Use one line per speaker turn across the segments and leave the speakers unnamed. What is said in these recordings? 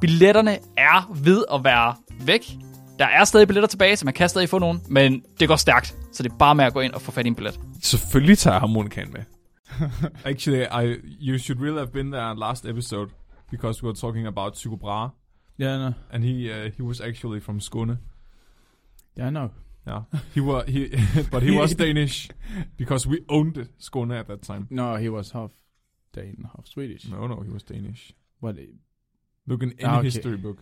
Billetterne er ved at være væk. Der er stadig billetter tilbage, så man kan stadig få nogen, men det går stærkt. Så det er bare med at gå ind og få fat i en billet.
Selvfølgelig tager jeg harmonikan med. Actually, I, you should really have been there last episode, because we were talking about Tycho Brahe,
Yeah, I know.
and he uh, he was actually from Skåne.
Yeah, I know.
Yeah, he was he, but he was Danish, because we owned Skåne at that time.
No, he was half Dane, half Swedish.
No, no, he was Danish.
Well, it-
Look in any
Ah, okay.
history book.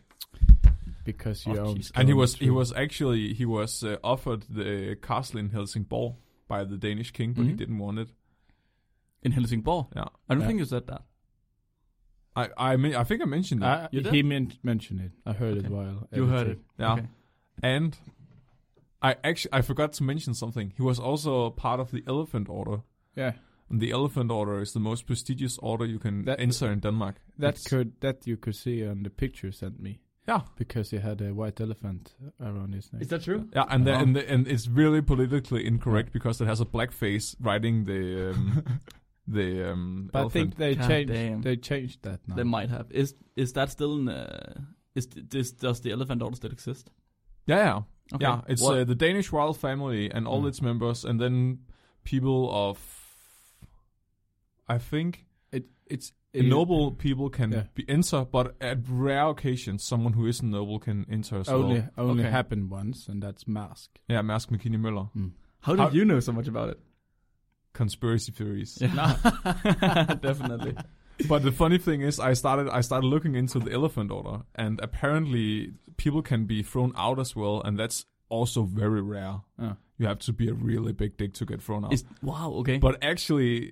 because you
Oh,
own
Jesus.
And he was he was actually he was uh, offered the castle in Helsingborg by the Danish king, but he
Mhm.
didn't want it.
In Helsingborg?
Yeah,
I don't
Yeah.
think you said that.
I I mean, I think I mentioned that.
I,
You did?
Uh, he meant, mentioned it. I heard it
Okay.
while.
You heard
editing.
yeah,
okay.
and I actually I forgot to mention something. He was also part of the Elephant Order,
Yeah,
and the Elephant Order is the most prestigious order you can
That-
enter in Denmark.
that
It's-
could that you could see on the picture sent me
yeah,
because he had a white elephant around his neck.
that true?
yeah, and the,
Wow.
and, the, and it's really politically incorrect because it has a black face riding the um, the um,
But I
elephant.
think they
God
changed.
damn.
They changed that now.
They might have. Is is that still in? Uh, is this does the elephant order still exist?
yeah, yeah.
Okay.
Yeah, it's
What- Hmm.
uh, the Danish royal family and all
Mm.
its members, and then people of, I think,
It, it's
Eh,
noble people can
Yeah.
be enter, but at rare occasions, someone who isn't noble can enter as
only
well.
only
Okay.
happened once, and that's mask.
Yeah, Mask McKinney Møller.
how do
how-
you know so much about it?
Conspiracy theories.
Yeah. Definitely.
but the funny thing is, I started I started looking into the Elephant Order, and apparently people can be thrown out as well, and that's also very rare.
Oh.
You have to be a really big dick to get thrown out.
Is, wow. Okay.
But actually,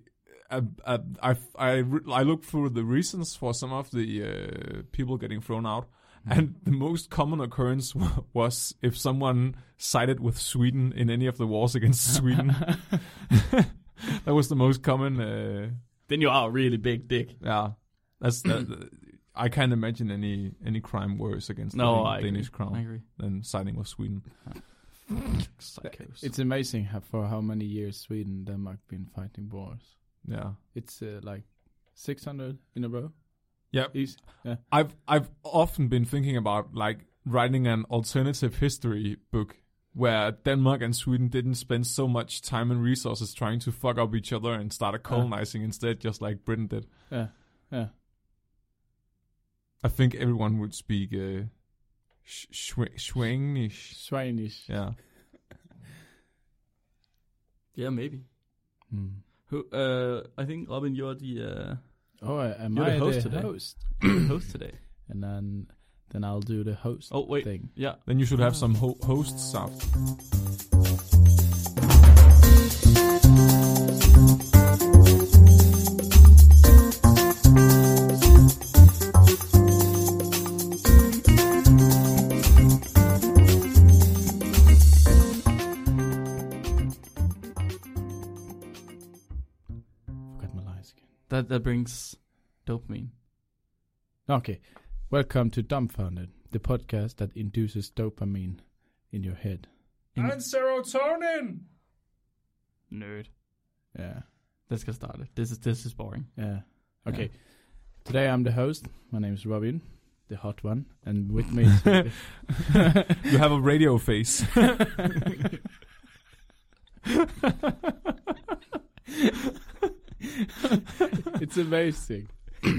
I, I, I, I, re- I looked through the reasons for some of the uh, people getting thrown out,
Hmm.
and the most common occurrence w- was if someone sided with Sweden in any of the wars against Sweden. that was the most common. Uh,
then you are a really big dick.
yeah, that's. That, I can't imagine any any crime worse against
No,
the
I agree.
Danish
I
crown
agree.
than siding with Sweden.
Psychos.
It's amazing how, for how many years Sweden and Denmark been fighting wars.
Yeah.
It's uh, like 600 in a row.
Yeah.
Easy.
I've I've often been thinking about like writing an alternative history book where Denmark and Sweden didn't spend so much time and resources trying to fuck up each other and started colonizing instead, just like Britain did.
Yeah. Yeah.
I think everyone would speak uh, Sch- Schwe- Schwedish.
Swedish.
Yeah,
yeah, maybe.
Mm.
Who? Uh, I think Robin, you're the uh,
Oh, uh, am
You're
I
the host
the
today.
host?
host today.
And then, then I'll do the host
Oh wait.
thing.
Yeah.
then you should have some ho- host stuff.
Forgot my lines again.
That that brings dopamine.
Okay. Welcome to Dumbfounded, the podcast that induces dopamine in your head.
In-
serotonin.
Nerd.
Yeah.
Let's get started. This is this is boring.
Yeah. Okay. Today I'm the host. My name is Robin, the hot one, and with me. is-
You have a radio face.
it's amazing.
oh,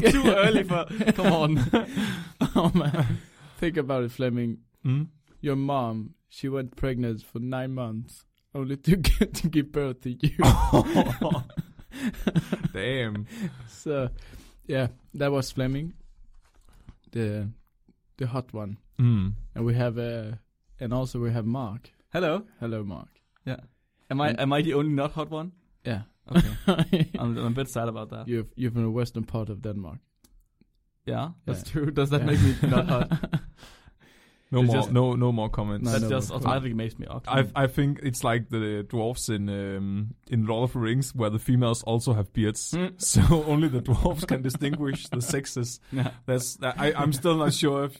too early for. Come on.
oh man. Think about it, Fleming.
Mm.
Your mom, she went pregnant for nine months only to get to give birth to you.
Damn.
Ah.
so, yeah, that was Fleming, the the hot one,
Mm.
and we have uh, and also we have Mark.
Hello.
Hello, Mark.
Am I am I the only not hot one?
Yeah.
Okay. I'm, I'm a bit sad about that.
you're you're from the western part of Denmark.
Yeah, that's
Yeah.
true. Does that
Yeah.
make me not hot?
No
It's
more,
just-
no, no more comments.
No,
that
no,
just
no.
automatically makes me awkward.
I I think it's like the dwarfs in um, in Lord of the Rings, where the females also have beards,
Hmm.
Mm.
so only the dwarfs can distinguish the sexes.
Yeah.
That's I, I'm still not sure if,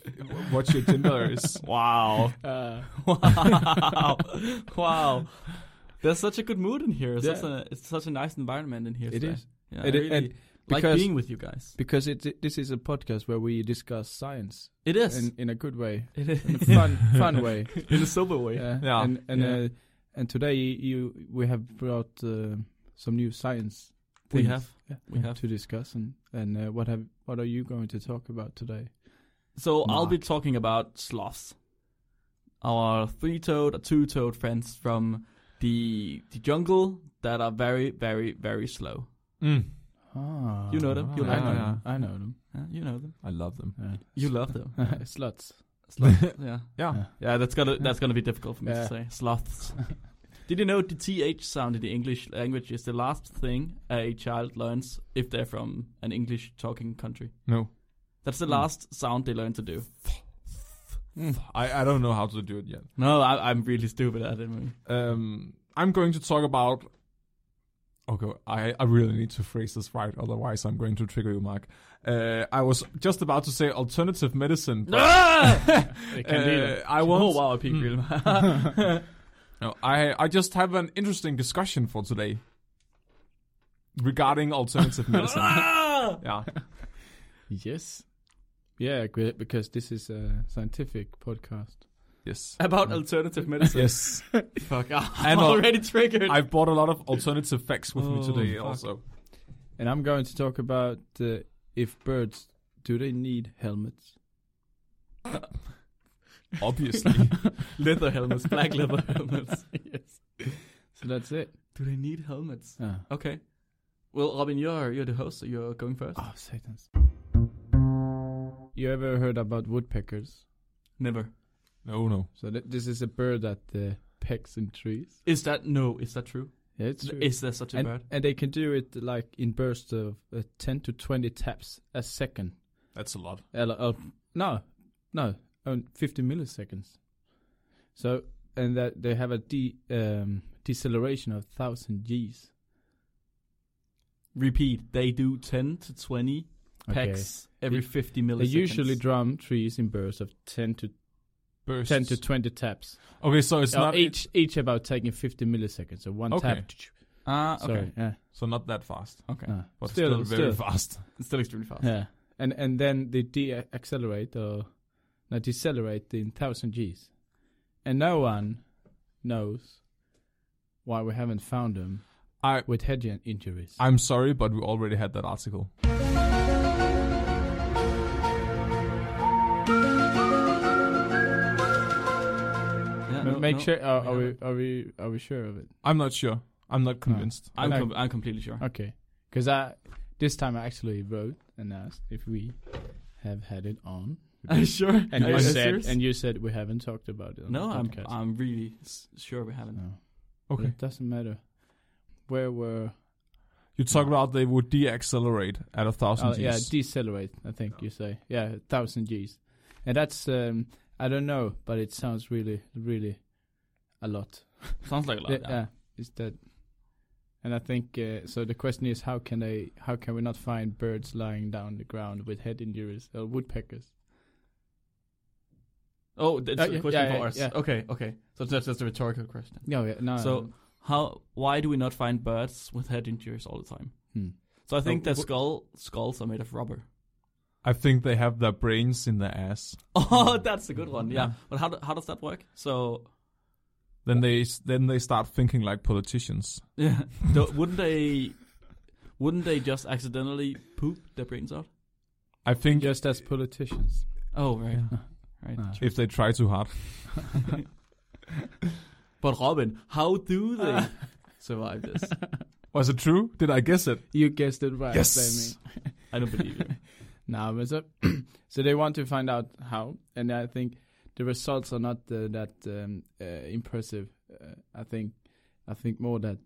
what your gender is.
Wow.
Uh,
wow. wow. There's such a good mood in here. It's,
Yeah.
such, a, it's such a nice environment in here.
It
today.
is.
Yeah,
It
I
is-
really
and
like
because-
being with you guys.
because it, it- this is a podcast where we discuss science
It is.
in, in a good way,
it is.
in a fun fun way.
in a sober way.
Yeah.
Yeah.
And and
Yeah.
Uh, and today you we have brought uh, some new science.
We
things,
have.
yeah,
We have.
to discuss and and uh, what have what are you going to talk about today?
So I'll be talking about sloths, our three-toed or two-toed friends from the the jungle that are very, very, very slow.
Mm.
Ah,
You know them. You
Ah,
like
I know.
them.
I know them.
Yeah, you know them.
I love them.
Yeah.
You love them.
Sluts.
Sloths, yeah.
Yeah.
Yeah.
Yeah, that's gonna that's gonna be difficult for me
Yeah.
to say. Sloths. Did you know the th sound in the English language is the last thing a child learns if they're from an English talking country?
No,
That's the
Hmm.
last sound they learn to do.
I, I don't know how to do it yet.
No, I, I'm really stupid at it. man.
Um, I'm going to talk about. Okay, I, I really need to phrase this right, otherwise I'm going to trigger you, Mark. Uh, I was just about to say alternative medicine. but,
Ah!
They can do
uh,
that.
I
Oh
won't.
wow, I peaked
Mm.
really
No, I I just have an interesting discussion for today regarding alternative medicine.
Ah!
yeah,
Yes. Yeah, gre- because this is a scientific podcast.
yes,
About alternative medicine.
yes.
Fuck, ah, I'm
And al-
already triggered.
I've brought a lot of alternative facts with me
Oh,
today,
fuck.
also.
And I'm going to talk about uh, if birds do they need helmets?
Obviously,
leather helmets, black leather helmets.
yes. So that's it.
Do they need helmets?
Ah.
Okay. Well, Robin, you're you're the host, so you're going first.
Oh, Satan's. You ever heard about woodpeckers?
Never.
no, no.
So th- this is a bird that uh, pecks in trees.
Is that no? Is that true?
Yeah, it's true.
Is there such a
and,
bird?
and they can do it like in bursts of uh, 10 to 20 taps a second.
That's a lot.
Eller- oh, no, no, um, 50 milliseconds. So, and that they have a de- um, deceleration of 1000 Gs.
Repeat. They do 10 to 20 pecks every
They-
50
They
milliseconds.
usually drum trees in bursts of 10 to
Bursts.
10 to 20 taps.
okay, so it's
Oh,
Uh,
not
each each about taking 50 milliseconds. So one
Okay.
tap.
Ah, okay.
Sorry. Yeah.
so not that fast,
Okay.
yeah.
but
Still-
still, very
still.
fast.
It's still extremely fast.
Yeah. And and then they de-accelerate or no, decelerate in 1000 Gs. And no one knows why we haven't found them
I
with head in- injuries.
I'm sorry, but we already had that article.
Yeah,
Ma-
no,
Make
no,
sure are, are we
haven't.
are we are we sure of it?
I'm not sure. I'm
Ah,
not convinced.
I'm,
I-
com- I'm completely sure.
Okay, because I this time I actually wrote and asked if we have had it on,
Are you sure?
and
Are
you
you
said
serious?
and you said we haven't talked about it. On
no,
the
I'm,
podcast.
I'm really s- sure we haven't.
No.
Okay.
It doesn't matter. Where were
You talk about they would de-accelerate at a thousand
Ah. oh,
Gs.
yeah decelerate? I think you say yeah thousand G's, and that's um I don't know, but it sounds really really a lot.
Sounds like a lot.
Yeah,
yeah.
yeah, is that? And I think uh, so. The question is, how can they? How can we not find birds lying down on the ground with head injuries or woodpeckers?
Oh, that's
Uh,
a
yeah,
question
yeah,
for
yeah,
us.
yeah.
Okay, okay. So that's just a rhetorical question.
No, yeah, no.
So how? Why do we not find birds with head injuries all the time?
Hmm.
So I think
Oh,
their
wh-
skull skulls are made of rubber.
I think they have their brains in their ass.
Oh, that's a good one. Yeah.
Yeah.
But how do, how does that work? So
Then they then they start thinking like politicians.
yeah, do- wouldn't they wouldn't they just accidentally poop their brains out?
I think
just as politicians.
Oh, right.
Yeah.
Right.
Ah.
if they try too hard,
But Robin, how do they survive this?
was it true? Did I guess it?
You guessed it right.
Yes.
Fleming.
I don't believe you.
No, but so, so they want to find out how, and I think the results are not uh, that um, uh, impressive. Uh, I think, I think more that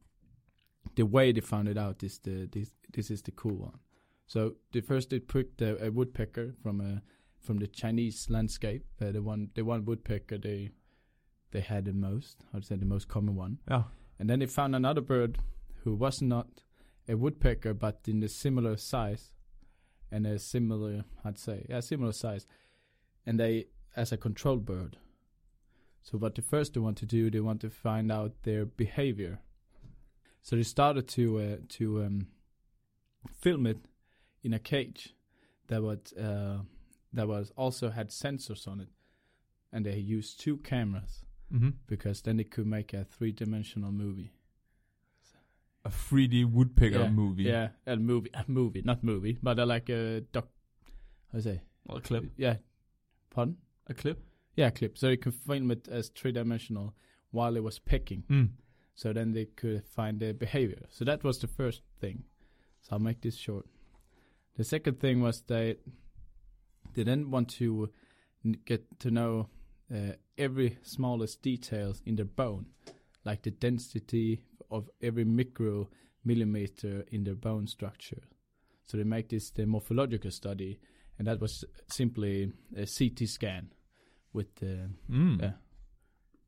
the way they found it out is the this this is the cool one. So the first it pricked a, a woodpecker from a from the Chinese landscape. Uh, the one the one woodpecker they they had the most, I would say the most common one.
Yeah.
And then they found another bird who was not a woodpecker but in a similar size and a similar I'd say a similar size. And they as a control bird. So what the first they want to do, they want to find out their behavior. So they started to uh, to um, film it in a cage that was uh, that was also had sensors on it, and they used two cameras
Mm-hmm.
because then they could make a three dimensional movie.
A 3D woodpecker
Yeah,
movie.
Yeah, a movie, a movie, not movie, but uh, like a doc. How to say?
Or a clip.
Yeah, pardon.
A clip?
Yeah, clip. So they could film it as three dimensional while it was pecking.
Mm.
so then they could find their behavior. So that was the first thing. So I'll make this short. The second thing was they they then want to n- get to know uh, every smallest details in the bone, like the density of every micro millimeter in the bone structure. So they make this the morphological study, and that was simply a CT scan. With the
Mm.
Yeah.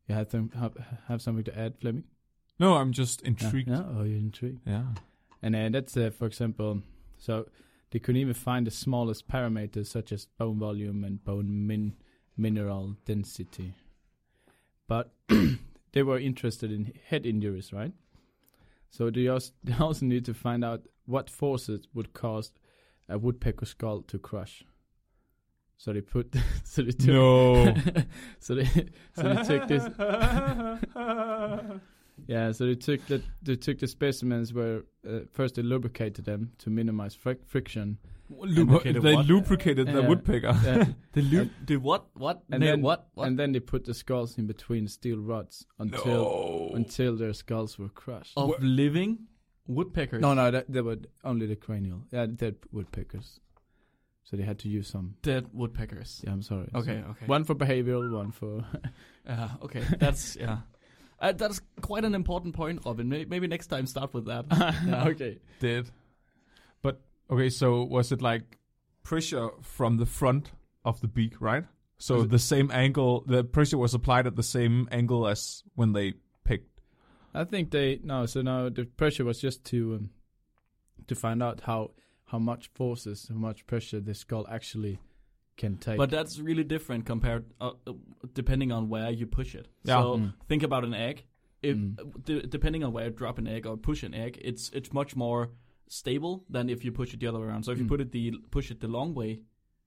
you have, them, have have something to add, Fleming?
No, I'm just
Yeah,
intrigued.
Yeah, oh, you're intrigued.
yeah.
And uh, that's, uh, for example, so they couldn't even find the smallest parameters such as bone volume and bone min- mineral density. But they were interested in head injuries, right? So they also, they also need to find out what forces would cause a woodpecker skull to crush. So they put, so they took,
No.
so they, so they took this, yeah, so they took the they took the specimens where uh, first they lubricated them to minimize fric- friction.
Lubricated
they
what?
lubricated the
Yeah.
woodpecker.
Uh,
The loop? Dude, what? What?
and
no,
then-
what? What?
and then they put the skulls in between steel rods until
no.
until their skulls were crushed.
of living woodpeckers.
No, no, that, they were only the cranial. Yeah, dead woodpeckers. So they had to use some.
Dead woodpeckers.
Yeah, I'm sorry.
Okay, okay.
One for behavioral, one for.
Yeah, okay. That's yeah. Uh, that's quite an important point, Robin. Maybe, maybe next time start with that. Yeah.
okay.
Dead. But okay, so was it like pressure from the front of the beak, right? So
Was it-
the same angle, the pressure was applied at the same angle as when they picked.
I think they no. So now the pressure was just to um, to find out how how much forces, how much pressure the skull actually can take.
But that's really different compared, uh, uh, depending on where you push it.
Yeah.
So
Mm.
think about an egg. If
Mm.
uh, de- depending on where you drop an egg or push an egg, it's it's much more stable than if you push it the other way around. So if you
Mm.
put it the push it the long way,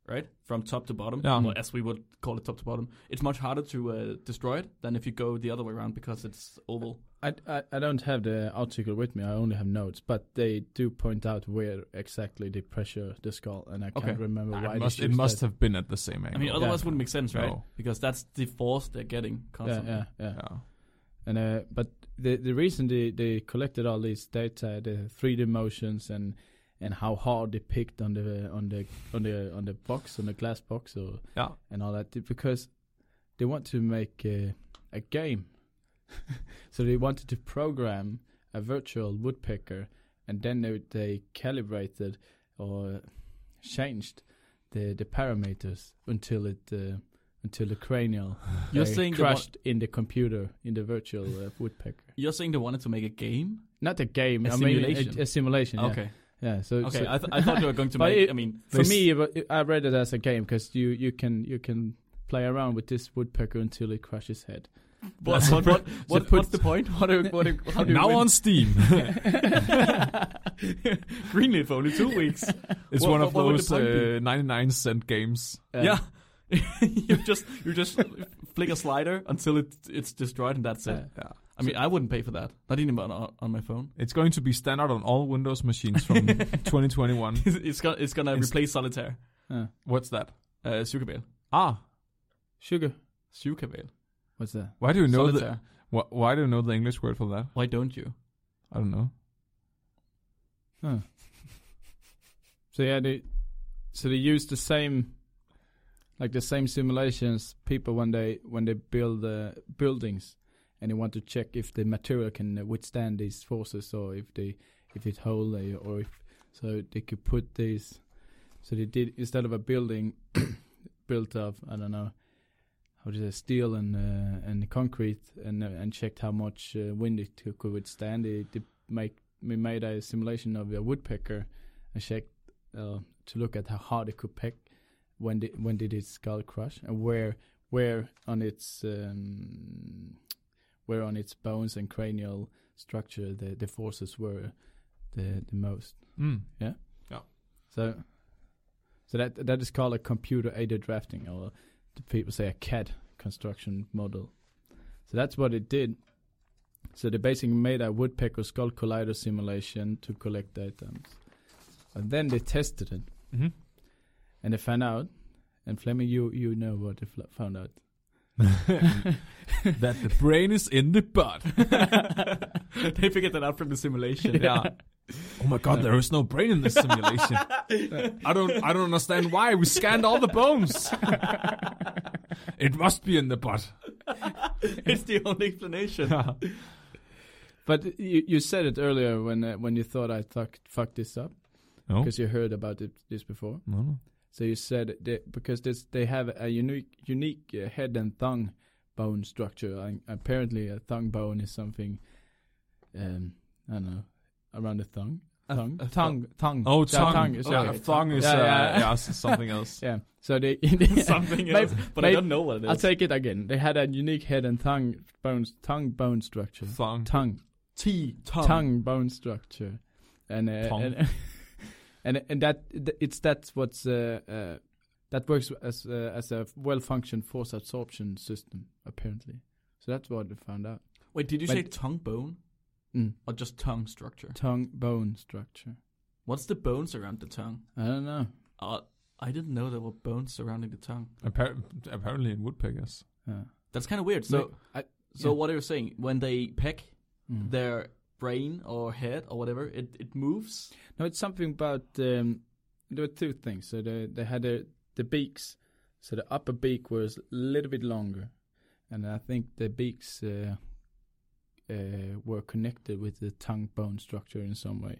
right, from top to bottom,
Yeah.
or as we would call it top to bottom, it's much harder to uh, destroy it than if you go the other way around because it's oval.
I, I, I don't have the article with me. I only have notes, but they do point out where exactly they pressure the skull, and I can't
Okay.
remember why.
it must,
they
it
choose
must
that.
have been at the same
I
angle.
mean, otherwise it wouldn't make sense, right?
No.
Because that's the force they're getting
Yeah,
constantly.
yeah, yeah.
yeah.
And uh, but the the reason they, they collected all these data, the 3D motions, and and how hard they picked on the on the on the on the box on the glass box or
Yeah.
and all that because they want to make a, a game. so they wanted to program a virtual woodpecker, and then they, they calibrated or changed the the parameters until it uh, until the cranial
You're
they
saying they wa-
crashed in the computer in the virtual uh, woodpecker.
You're saying they wanted to make a game?
Not a game,
A
I mean
simulation.
a, a simulation. Yeah.
Okay.
yeah. So
Okay.
so-
I, th- I thought you were going to
But
make.
it-
I mean,
for me, it wa- it- I read it as a game because you, you can you can play around with this woodpecker until it crashes head.
what, what, what, what- what's the point? What do, what do, how do
now
you
on Steam,
win? Greenlit for only two weeks.
it's
What-
one
what-
of
what would the
those
point be?
uh, 99 cent games.
Uh,
yeah. you just you just flick a slider until it it's destroyed and that's it.
uh,
Yeah.
I mean, I wouldn't pay for that. Not even on, on my phone.
It's going to be standard on all Windows machines from 2021.
it's gonna it's gonna
It's-
replace solitaire.
uh,
What's that?
Uh, Sugarbale.
Ah,
sugar.
Sugarbale.
What's that?
why do you know the
solitaire.
wh- why do you know the English word for that?
Why don't you?
I don't know.
Huh. So yeah, they so they use the same like the same simulations people when they when they build uh, buildings and they want to check if the material can withstand these forces or if they if it hold uh, or if So they could put these. So they did instead of a building built of I don't know how do you say steel and uh, and concrete and uh, and checked how much uh, wind it could could withstand. They, they make we made a simulation of a woodpecker and checked uh, to look at how hard it could peck when did when did its skull crush and where where on its um, where on its bones and cranial structure the, the forces were the the most.
Mm.
So, so that that is called a computer aided drafting, or do people say a CAD construction model. So that's what it did. So they basically made a woodpecker skull collider simulation to collect items, and then they tested it,
Mhm.
and they found out. And Fleming, you you know what they fl- found out. Mm-hmm.
that the brain is in the butt.
they figured that out from the simulation.
Yeah. Oh my god, there is no brain in this simulation. I don't I don't understand why we scanned all the bones. it must be in the butt.
it's the only explanation.
But you, you said it earlier when uh, when you thought I fuck, fucked this up
No.
because you heard about it, this before.
No, no.
So you said that because this, they have a unique unique uh, head and tongue bone structure. And apparently, a tongue bone is something um, I don't know around the tongue, tongue, tongue, tongue.
Oh,
Yeah,
tongue.
tongue is-
yeah,
okay.
thong is
Yeah,
uh,
yeah.
yeah, s- something else.
Yeah. So they.
Something
Maybe-
else, but I
maybe-
don't know what it is.
I'll take it again. They had a unique head and tongue bones, tongue bone structure,
Thong.
tongue,
T tongue.
tongue bone structure, and uh,
Tongue.
and and and that it's that's what's uh, uh, that works as uh, as a well-functioned force absorption system apparently. So that's what we found out.
Wait, did you
But-
say tongue bone
Mm.
or just tongue structure?
Tongue bone structure.
What's the bones around the tongue?
I don't know.
Uh, I didn't know there were bones surrounding the tongue.
Appar- apparently in woodpeckers.
Yeah.
That's kind of weird. So,
So I,
so
Uh, yeah.
what are you saying? When they peck,
mm.
their brain or head or whatever, it, it moves.
no, it's something about um, there were two things. So they they had the the beaks. So the upper beak was a little bit longer, and I think the beaks uh, uh, were connected with the tongue bone structure in some way,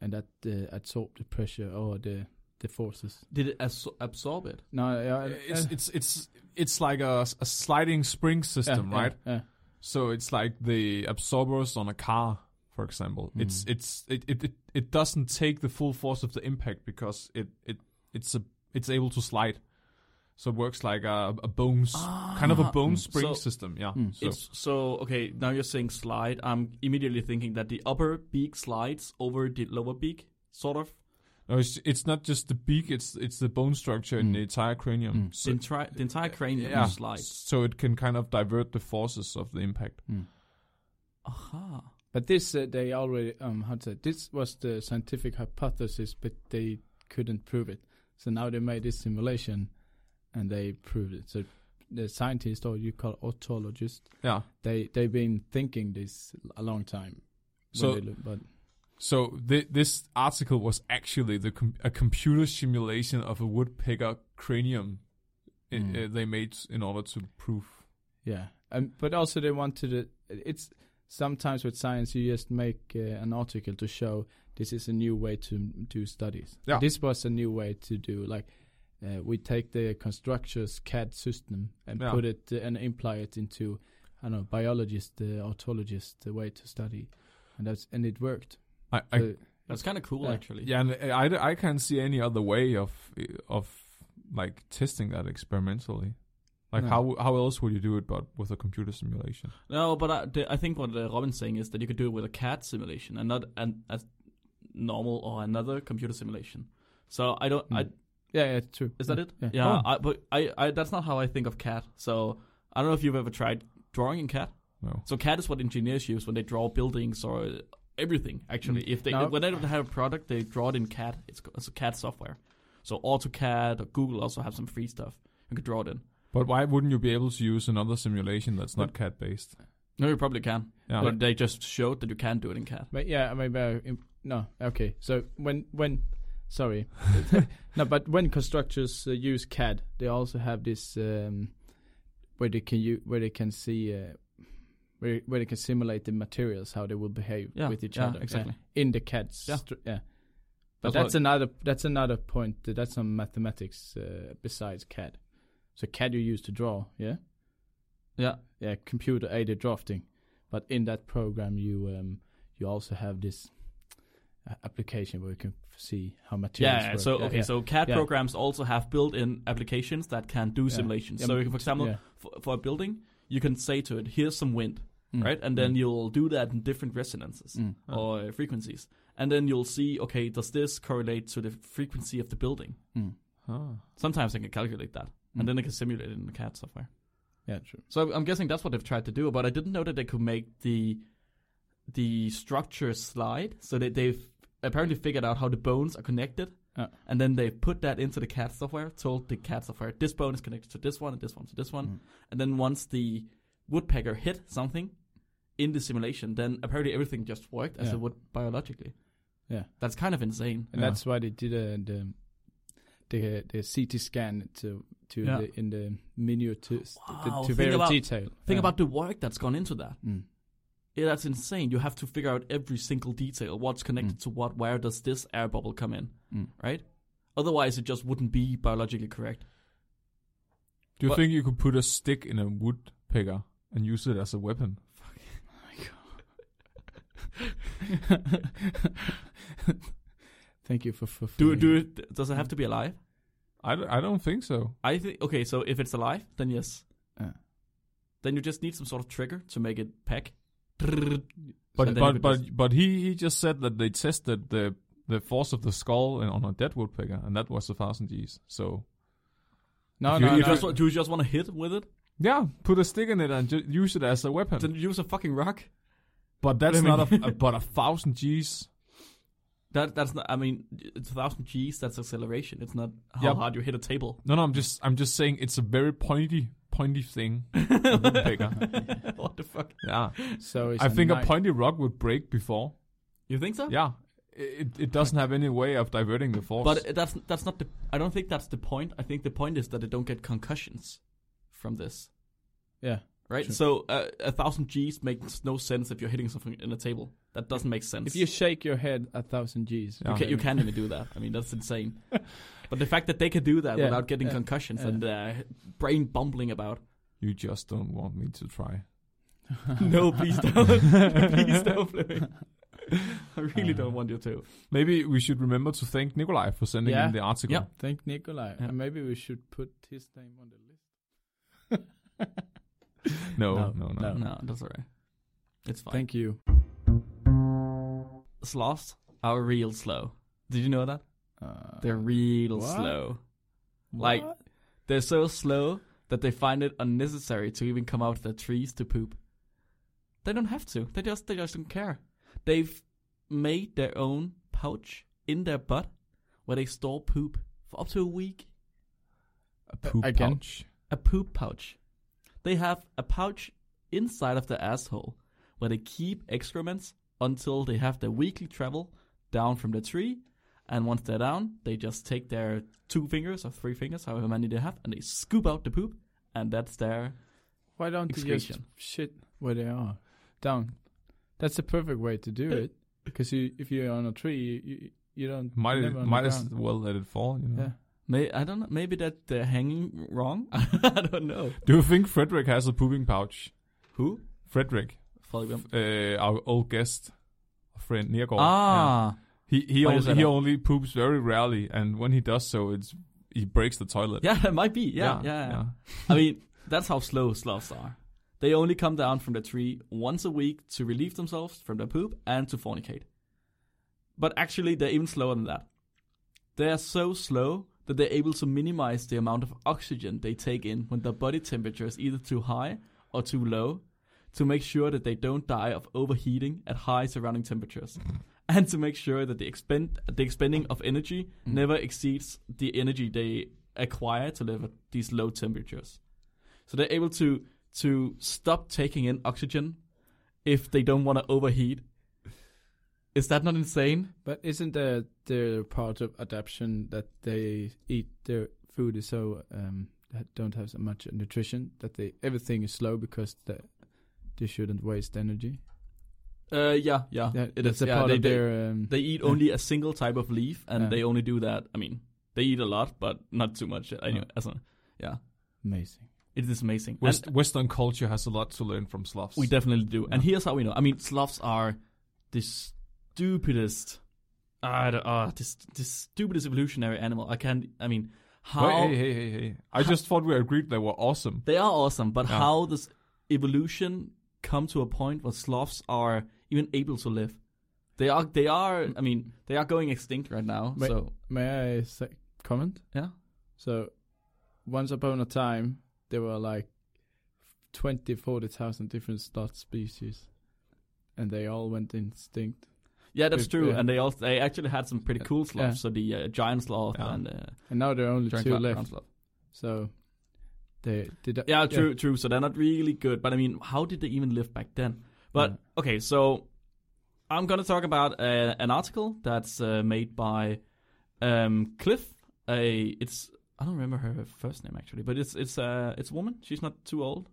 and that uh, absorbed the pressure or the the forces.
Did it as- absorb it?
No, uh,
It's it's it's it's like a, s- a sliding spring system, right?
Yeah,
So it's like the absorbers on a car, for example.
Hmm.
It's it's it, it it it doesn't take the full force of the impact because it it it's a it's able to slide. So it works like a, a bones kind of a bone spring
Ah. Hmm. So- Hmm.
system, yeah. So
It's so okay. Now you're saying slide. I'm immediately thinking that the upper beak slides over the lower beak, sort of.
no, it's it's not just the beak; it's it's the bone structure in the entire cranium.
Hmm. The,
So,
entire the entire cranium
yeah,
slides.
so it can kind of divert the forces of the impact.
Aha.
But this uh, they already um how to say this was the scientific hypothesis, but they couldn't prove it. So now they made this simulation, and they proved it. So the scientists or you call autologist,
Yeah.
they they've been thinking this a long time. when
So-
they look, but
So th- this article was actually the com- a computer simulation of a woodpecker cranium i-
Mm.
uh, they made in order to prove.
yeah, um, but also they wanted it. It's sometimes with science you just make uh, an article to show this is a new way to do studies.
Yeah.
This was a new way to do like uh, we take the constructors CAD system and
Yeah.
put it uh, and imply it into I don't know biologist, uh, autologist, the way to study, and that's and it worked.
I, I
So-
That's kind of cool,
Yeah.
actually.
yeah, and I, I- I can't see any other way of of like testing that experimentally. Like
No.
how how else would you do it but with a computer simulation?
No, but I, the, I think what uh, Robin's saying is that you could do it with a CAD simulation and not an, a normal or another computer simulation. So I don't. I,
Mm. yeah, yeah, true.
is that it?
Yeah.
Oh.
I, but I, I that's not how I think of CAD. So I don't know if you've ever tried drawing in CAD.
No.
So CAD is what engineers use when they draw buildings or uh, everything. Actually, if they
Mm, No.
when they don't have a product, they draw it in CAD. It's, co- it's a CAD software. So AutoCAD or Google also have some free stuff you could draw it in.
But why wouldn't you be able to use another simulation that's not CAD based?
No, you probably can,
Yeah.
but they just showed that you can do it in CAD.
But yeah, maybe I, uh, im- no. Okay, so when when sorry, no, but when constructors uh, use CAD, they also have this um, where they can u- where they can see uh, where where they can simulate the materials how they will behave with each other
Exactly.
in the CAD.
Yeah.
stru- yeah. But
That's what-
that's another that's another point. uh, That's some mathematics uh, besides CAD. So CAD you use to draw, yeah,
Yeah.
yeah, computer aided drafting. But in that program, you um, you also have this uh, application where you can f- see how materials.
Yeah,
work.
so
Yeah,
okay,
yeah.
so CAD
Yeah.
programs also have built-in applications that can do
Yeah.
simulations.
Yeah,
So,
m-
you can, for example,
yeah.
for, for a building, you can say to it, "Here's some wind,"
Mm.
right, and then
Mm.
you'll do that in different resonances
Mm.
Ah.
or uh, frequencies, and then you'll see, okay, does this correlate to the frequency of the building?
Mm.
Huh.
Sometimes I can calculate that,
Mm.
and then I can simulate it in the CAD software.
yeah, true.
So I'm guessing that's what they've tried to do, but I didn't know that they could make the the structure slide. So they, they've apparently figured out how the bones are connected,
Ah.
and then they put that into the CAD software. Told the CAD software this bone is connected to this one, and this one to this one,
Mm.
and then once the woodpecker hit something in the simulation, then apparently everything just worked as
Yeah.
it would biologically.
Yeah.
that's kind of insane.
And
Yeah.
that's why they did uh, the the the CT scan to to
Yeah.
the, in the minute to,
Wow,
to,
think
very
about-
detail.
Think
Yeah.
about the work that's gone into that.
Mm.
Yeah, that's insane. You have to figure out every single detail. What's connected to what? Where does this air bubble come in?
Mm.
Right? Otherwise, it just wouldn't be biologically correct.
Do you
But-
think you could put a stick in a woodpecker and use it as a weapon?
Thank you for for
Do
for-
do it? Does it have to be alive?
I, d- I don't think so.
I think okay. So if it's alive, then yes.
Yeah.
Then you just need some sort of trigger to make it peck.
But
And then you
but
could
but,
just-
but he, he just said that they tested the the force of the skull in- on a dead woodpecker, and that was a thousand G's. So
No,
If
no,
Do you
no.
just, wa- do you just want to hit with it?
yeah, put a stick in it and ju- use it as a weapon.
Then use a fucking rock.
but that's
I mean-
not a, a- but a thousand G's.
That that's not. I mean, it's a thousand G's. That's acceleration. It's not how
Yeah.
hard you hit a table.
No, no, I'm just I'm just saying it's a very pointy pointy thing. a woodpecker.
what the fuck?
Yeah,
So it's
I think
a
a pointy rock would break before.
You think so?
Yeah, it it doesn't have any way of diverting the force.
But that's that's not the. I don't think that's the point. I think the point is that they don't get concussions from this,
Yeah.
right?
Sure.
So uh, a thousand G's makes no sense if you're hitting something in a table. That doesn't make sense.
If you shake your head a thousand G's,
Yeah.
you, can, you can't even do that. I mean, that's insane. but the fact that they can do that
Yeah.
without getting
Yeah.
concussions
Yeah.
and uh, brain bumbling about.
you just don't want me to try.
no, please don't. please don't, Flemming. I really
Uh,
don't want you to.
Maybe we should remember to thank Nikolai for sending
Yeah.
in the article.
Yeah.
Thank Nikolai.
Yeah.
And maybe we should put his name on the list.
No,
No,
no, no.
no.
No, that's alright. It's fine.
Thank you.
Sloths are real slow. Did you know that?
Uh,
They're real
What?
slow. like-
what?
They're so slow that they find it unnecessary to even come out of their trees to poop. They don't have to. They just they just don't care. They've made their own pouch in their butt where they store poop for up to a week.
A poop
Again.
pouch.
A poop pouch. They have a pouch inside of their asshole where they keep excrements until they have their weekly travel down from the tree. And once they're down, they just take their two fingers or three fingers, however many they have, and they scoop out the poop. And that's their
Why don't you just
excretion.
shit where they are? Down. That's the perfect way to do it. Because you, if you're on a tree, you, you, you don't.
Might
never
it,
on the
might as
ground.
well let it fall. You know?
Yeah.
May I don't know. Maybe that they're hanging wrong. I don't know.
Do you think Frederick has a pooping pouch?
Who?
Frederick,
Follow him.
uh, our old guest, friend Nergård. yeah.
Ah,
He he
Why is
only,
that
he
up?
only poops very rarely, and when he does so, it's he breaks the toilet.
yeah. that might be. Yeah, yeah. yeah. I mean, that's how slow sloths are. They only come down from the tree once a week to relieve themselves from their poop and to fornicate. But actually, they're even slower than that. They are so slow that they're able to minimize the amount of oxygen they take in when their body temperature is either too high or too low to make sure that they don't die of overheating at high surrounding temperatures. And to make sure that the, expend- the expending of energy never exceeds the energy they acquire to live at these low temperatures. So they're able to to stop taking in oxygen if they don't want to overheat. Is that not insane?
But isn't the the part of adaptation that they eat their food is so um that don't have so much nutrition that they everything is slow because the, they shouldn't waste energy.
Uh, yeah, yeah,
Yeah,
It
that's
is.
a
Yeah,
part
they,
of
they-
their. Um,
they eat only a single type of leaf, and
Yeah.
they only do that. I mean, they eat a lot, but not too much. Anyway, as a- yeah,
amazing.
it is amazing. And
West, Western culture has a lot to learn from Slavs.
we definitely do. And here's how we know. I mean, Slavs are the stupidest, I don't, uh, the, st- the stupidest evolutionary animal. I can't. I mean, how
Wait, hey, hey, hey, hey. I just thought we agreed they were awesome.
They are awesome, but
Yeah.
how does evolution come to a point where Slavs are even able to live? They are. They are. I mean, they are going extinct right now.
Wait.
So
May I say, comment?
yeah,
So, once upon a time, there were like 20, 40,000 different slut species, and they all went extinct.
yeah, that's
It-
true.
yeah.
And they also they actually had some pretty cool Slavs.
Yeah.
So the uh, giant Slav
Yeah.
and uh,
And now there are only
giant
two
clown-
left.
clown Slav.
So, they did. I-
Yeah, true, true. So they're not really good. But I mean, how did they even live back then?
Mm.
But okay, so I'm gonna talk about uh, an article that's uh, made by um, Cliff. A it's I don't remember her first name actually, but it's it's uh, it's a woman. She's not too old,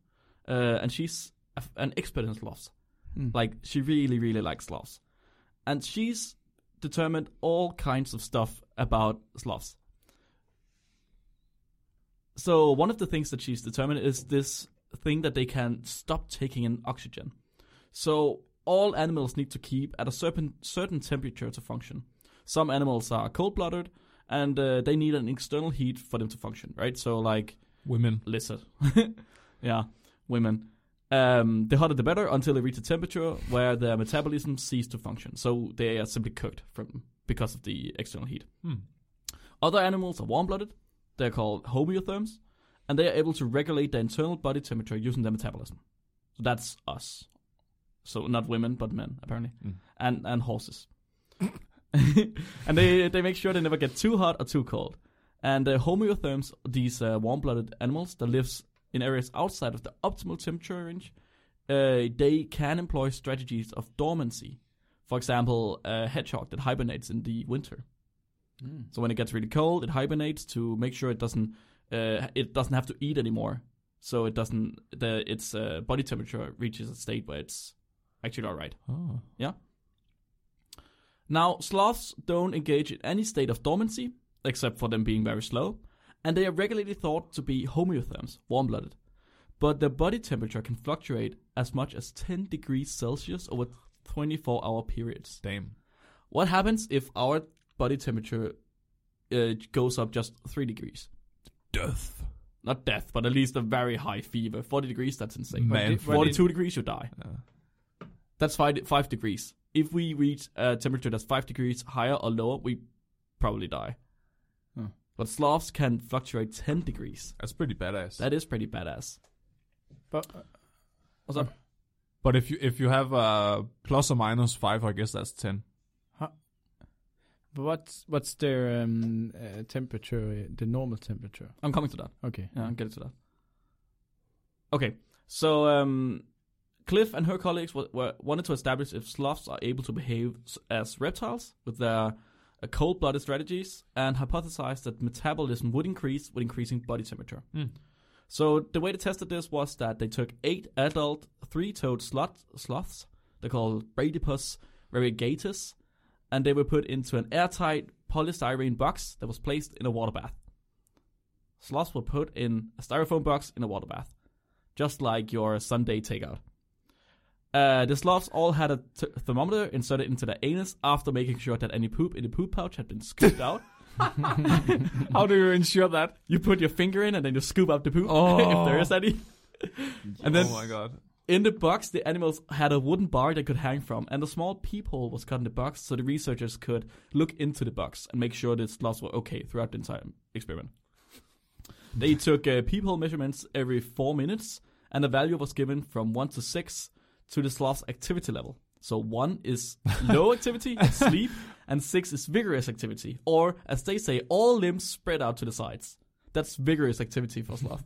uh, and she's a, an expert in sloths.
Mm.
Like she really really likes sloths, and she's determined all kinds of stuff about sloths. So one of the things that she's determined is this thing that they can stop taking in oxygen. So all animals need to keep at a certain certain temperature to function. Some animals are cold-blooded, and uh, they need an external heat for them to function, right? So like
Women.
lizard, yeah, women. Um, the hotter the better until they reach a temperature where their metabolism ceases to function. So they are simply cooked from because of the external heat.
Hmm.
Other animals are warm-blooded. They're called homeotherms, and they are able to regulate their internal body temperature using their metabolism. So that's us. So not women, but men apparently,
Mm.
and and horses. and they they make sure they never get too hot or too cold. And uh, homeotherms, these uh, warm-blooded animals that lives in areas outside of the optimal temperature range, uh, they can employ strategies of dormancy. For example, a hedgehog that hibernates in the winter.
Mm.
So when it gets really cold, it hibernates to make sure it doesn't uh, it doesn't have to eat anymore. So it doesn't the its uh, body temperature reaches a state where it's actually all right.
Oh.
Now sloths don't engage in any state of dormancy except for them being very slow, and they are regularly thought to be homeotherms, warm-blooded. But their body temperature can fluctuate as much as 10 degrees Celsius over 24-hour periods.
Damn.
What happens if our body temperature uh, goes up just three degrees?
Death.
Not death, but at least a very high fever. 40 degrees, that's insane.
Man.
did- what
42 degrees, you die.
Yeah.
That's five, five degrees. If we reach a temperature that's five degrees higher or lower, we probably die.
Hmm.
But Slavs can fluctuate 10 degrees.
That's pretty badass.
That is pretty badass.
But,
What's up?
but if you if you have uh, plus or minus five, I guess that's ten.
but what's what's their um, uh, temperature? uh, The normal temperature.
I'm coming to that.
Okay.
Yeah, I'll get to that. Okay, so um, Cliff and her colleagues w- were, wanted to establish if sloths are able to behave s- as reptiles with their uh, cold-blooded strategies, and hypothesized that metabolism would increase with increasing body temperature.
Mm.
So the way they tested this was that they took eight adult three-toed sloth, sloths, they're called Bradypus variegatus, and they were put into an airtight polystyrene box that was placed in a water bath. Sloths were put in a styrofoam box in a water bath, just like your Sunday takeout. Uh, the sloths all had a t- thermometer inserted into their anus after making sure that any poop in the poop pouch had been scooped out.
How do you ensure that?
You put your finger in and then you scoop up the poop
Oh.
if there is any. And then
oh my god.
in the box, the animals had a wooden bar they could hang from, and a small peephole was cut in the box so the researchers could look into the box and make sure the sloths were okay throughout the entire experiment. They took uh, peephole measurements every four minutes, and the value was given from one to six to the sloth's activity level. So one is low activity, sleep, and six is vigorous activity, or as they say, all limbs spread out to the sides. That's vigorous activity for sloth.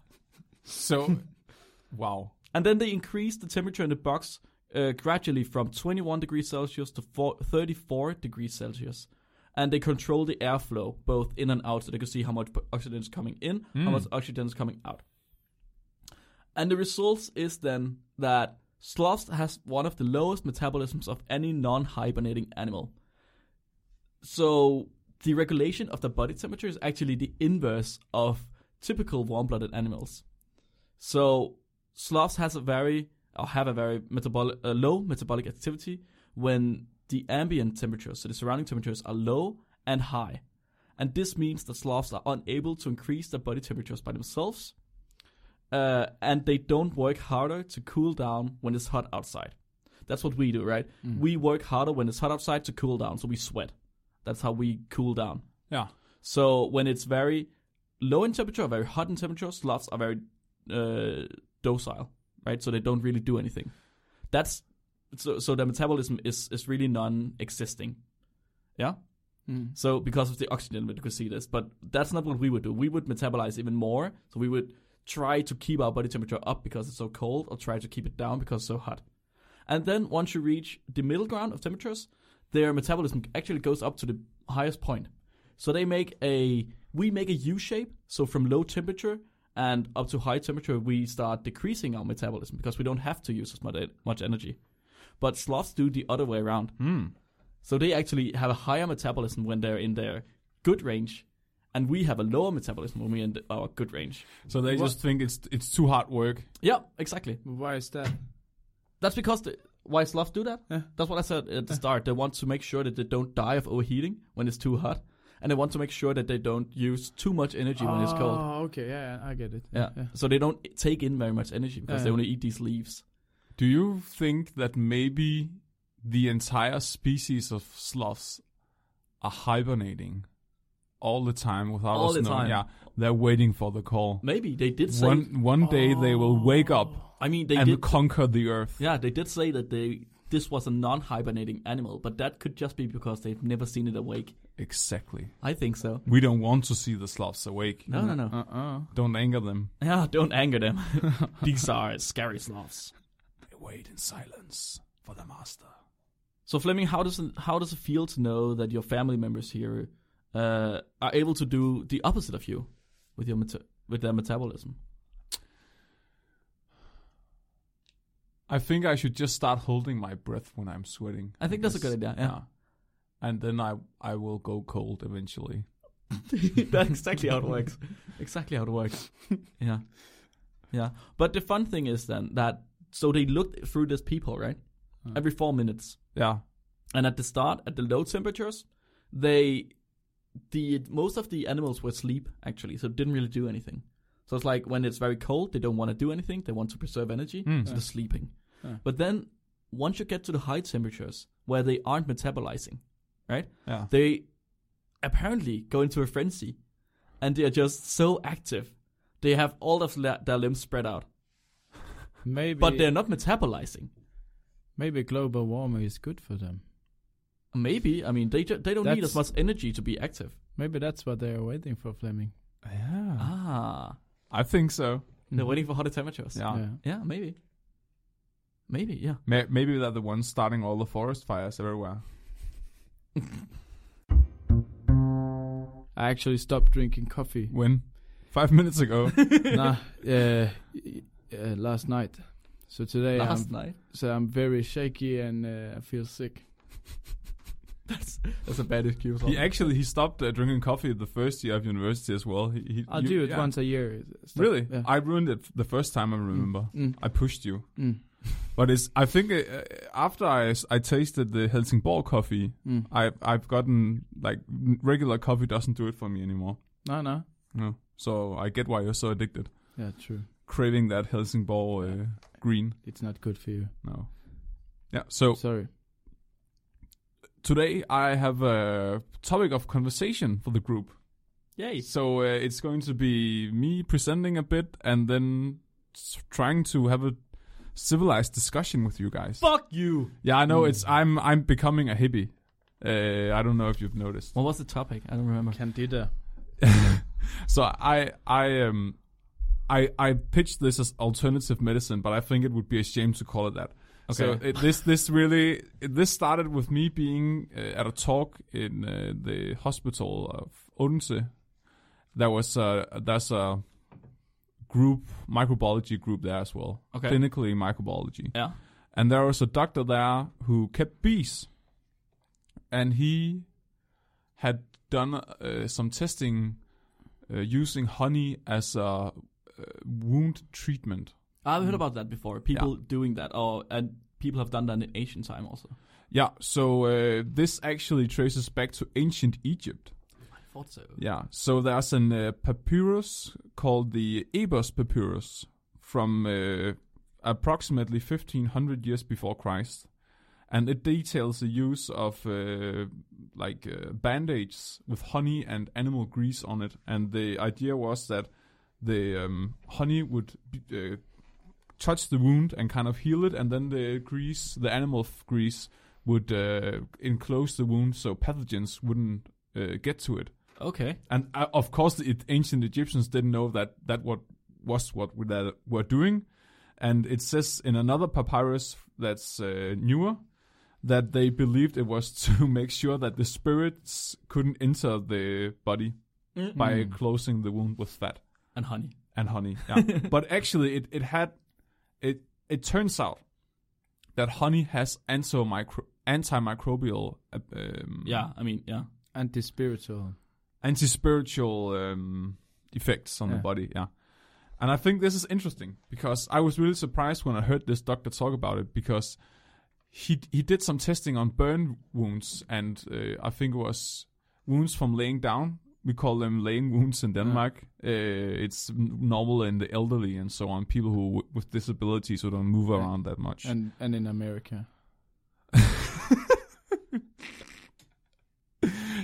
So, wow.
And then they increased the temperature in the box uh, gradually from 21 degrees Celsius to four, 34 degrees Celsius. And they control the airflow both in and out so they could see how much oxygen is coming in, how
Mm.
much oxygen is coming out. And the results is then that Sloths has one of the lowest metabolisms of any non-hibernating animal. So the regulation of the body temperature is actually the inverse of typical warm-blooded animals. So sloths has a very or have a very metabolic uh, low metabolic activity when the ambient temperatures, so the surrounding temperatures, are low and high, and this means that sloths are unable to increase their body temperatures by themselves, uh, and they don't work harder to cool down when it's hot outside. That's what we do, right?
Mm.
We work harder when it's hot outside to cool down, so we sweat. That's how we cool down.
Yeah.
So when it's very low in temperature, or very hot in temperature, sloths are very uh, docile, right? So they don't really do anything. That's so. So their metabolism is is really non-existing.
Mm.
So because of the oxygen, we could see this, but that's not what we would do. We would metabolize even more. So we would try to keep our body temperature up because it's so cold, or try to keep it down because it's so hot. And then once you reach the middle ground of temperatures, their metabolism actually goes up to the highest point. So they make a we make a U shape. So from low temperature and up to high temperature, we start decreasing our metabolism because we don't have to use as much much energy. But sloths do the other way around.
Hmm.
So they actually have a higher metabolism when they're in their good range, and we have a lower metabolism when we're in the- our good range.
So they
What-
just think it's it's too hard work.
Yeah, exactly.
Why is that?
That's because the, why sloths do that.
Yeah.
That's what I said at the start. They want to make sure that they don't die of overheating when it's too hot, and they want to make sure that they don't use too much energy when it's cold.
Oh, okay. Yeah, yeah, I get it.
Yeah. So they don't take in very much energy because
Yeah.
they only eat these leaves.
Do you think that maybe the entire species of sloths are hibernating all the time without
All
us
the
knowing?
time.
Yeah, they're waiting for the call.
Maybe they did say.
One one day they will wake up
I mean, Oh. they
and
did.
conquer the earth.
Yeah, they did say that they this was a non-hibernating animal, but that could just be because they've never seen it awake.
Exactly.
I think so.
We don't want to see the sloths awake.
No, no, no.
Uh-uh.
Don't anger them.
Yeah, don't anger them. These are scary sloths.
They wait in silence for the master.
So Fleming, how does it, how does it feel to know that your family members here uh, are able to do the opposite of you with your meta- with their metabolism?
I think I should just start holding my breath when I'm sweating.
I think that's a
guess.
good idea. Yeah,
And then I I will go cold eventually.
that's exactly how it works. Exactly how it works. Yeah, yeah. But the fun thing is then that so they looked through this people right
Mm.
Uh, every four minutes.
Yeah.
And at the start, at the low temperatures, they the most of the animals were asleep actually, so didn't really do anything. So it's like when it's very cold, they don't want to do anything. They want to preserve energy,
Hmm.
Mm.
so they're sleeping.
Yeah.
But then once you get to the high temperatures where they aren't metabolizing,
Yeah.
they apparently go into a frenzy, and they are just so active. They have all of la- their limbs spread out,
Maybe
but they're not metabolizing.
maybe global warming is good for them.
Maybe I mean they ju- they don't need as
That's-
much energy to be active.
Maybe that's what they are waiting for, Fleming.
Yeah.
Ah,
I think so.
they're waiting for hotter temperatures.
Yeah.
Yeah.
Mm-hmm. Yeah, maybe. Maybe, yeah.
May- Maybe they're the ones starting all the forest fires everywhere.
I actually stopped drinking coffee.
When? Five minutes ago.
nah, uh, y- uh, last night. So today,
Last
I'm,
night.
so I'm very shaky and uh, I feel sick.
That's that's a bad excuse.
he actually he stopped uh, drinking coffee the first year of university as well. He, he,
I
Ah,
you-
do it
yeah.
once a year. Stop-
Really? Ah.
Yeah.
I ruined it the first time I remember.
Hmm.
Mm,
I pushed you.
mm,
But it's I think uh, after I, s- I tasted the Helsingborg coffee,
mm.
I I've gotten like n- regular coffee doesn't do it for me anymore.
No, no.
No. So I get why you're so addicted.
Yeah, true.
Craving that Helsingborg uh, green.
It's not good for you.
No. Yeah. So
Sorry.
today I have a topic of conversation for the group.
Yay.
So uh, it's going to be me presenting a bit and then s- trying to have a civilized discussion with you guys.
Fuck you.
Yeah, I know it's I'm I'm becoming a hippie. Uh, I don't know if you've noticed.
What was the topic? I don't remember.
Candida.
So I I um I I pitched this as alternative medicine, but I think it would be a shame to call it that. So
Okay.
it, this this really it, this started with me being uh, at a talk in uh, the hospital of Odense. There was a there's a group microbiology group there as well.
Okay.
Clinically microbiology.
Yeah.
And there was a doctor there who kept bees, and he had done uh, some testing uh, using honey as a uh, wound treatment.
I've heard about that before. People doing that, or and people have done that in ancient time also.
Yeah, so uh, this actually traces back to ancient Egypt.
I thought so.
Yeah, so there's an uh, papyrus called the Ebers papyrus from uh, approximately 1500 years before Christ, and it details the use of uh, like uh, band-aids with honey and animal grease on it, and the idea was that the um, honey would be- uh, touch the wound and kind of heal it, and then the grease, the animal f- grease, would uh, enclose the wound so pathogens wouldn't uh, get to it.
Okay.
And uh, of course, the it- ancient Egyptians didn't know that that what was what we- that were doing. And it says in another papyrus that's uh, newer that they believed it was to make sure that the spirits couldn't enter the body
Mm.
by
Hmm.
closing the wound with fat
And honey. Mm-hmm.
and honey. Yeah. but actually, it, it had it. It turns out that honey has antimicro- antimicrobial, uh, um,
Yeah, I mean, yeah.
Anti-spiritual.
anti-spiritual um, effects on the
Yeah.
body. Yeah, and I think this is interesting because I was really surprised when I heard this doctor talk about it because he he did some testing on burn wounds and uh, I think it was wounds from laying down. We call them laying wounds in Denmark. Uh, it's n- normal in the elderly and so on, people who w- with disabilities who don't move
Yeah.
around that much.
And and in America.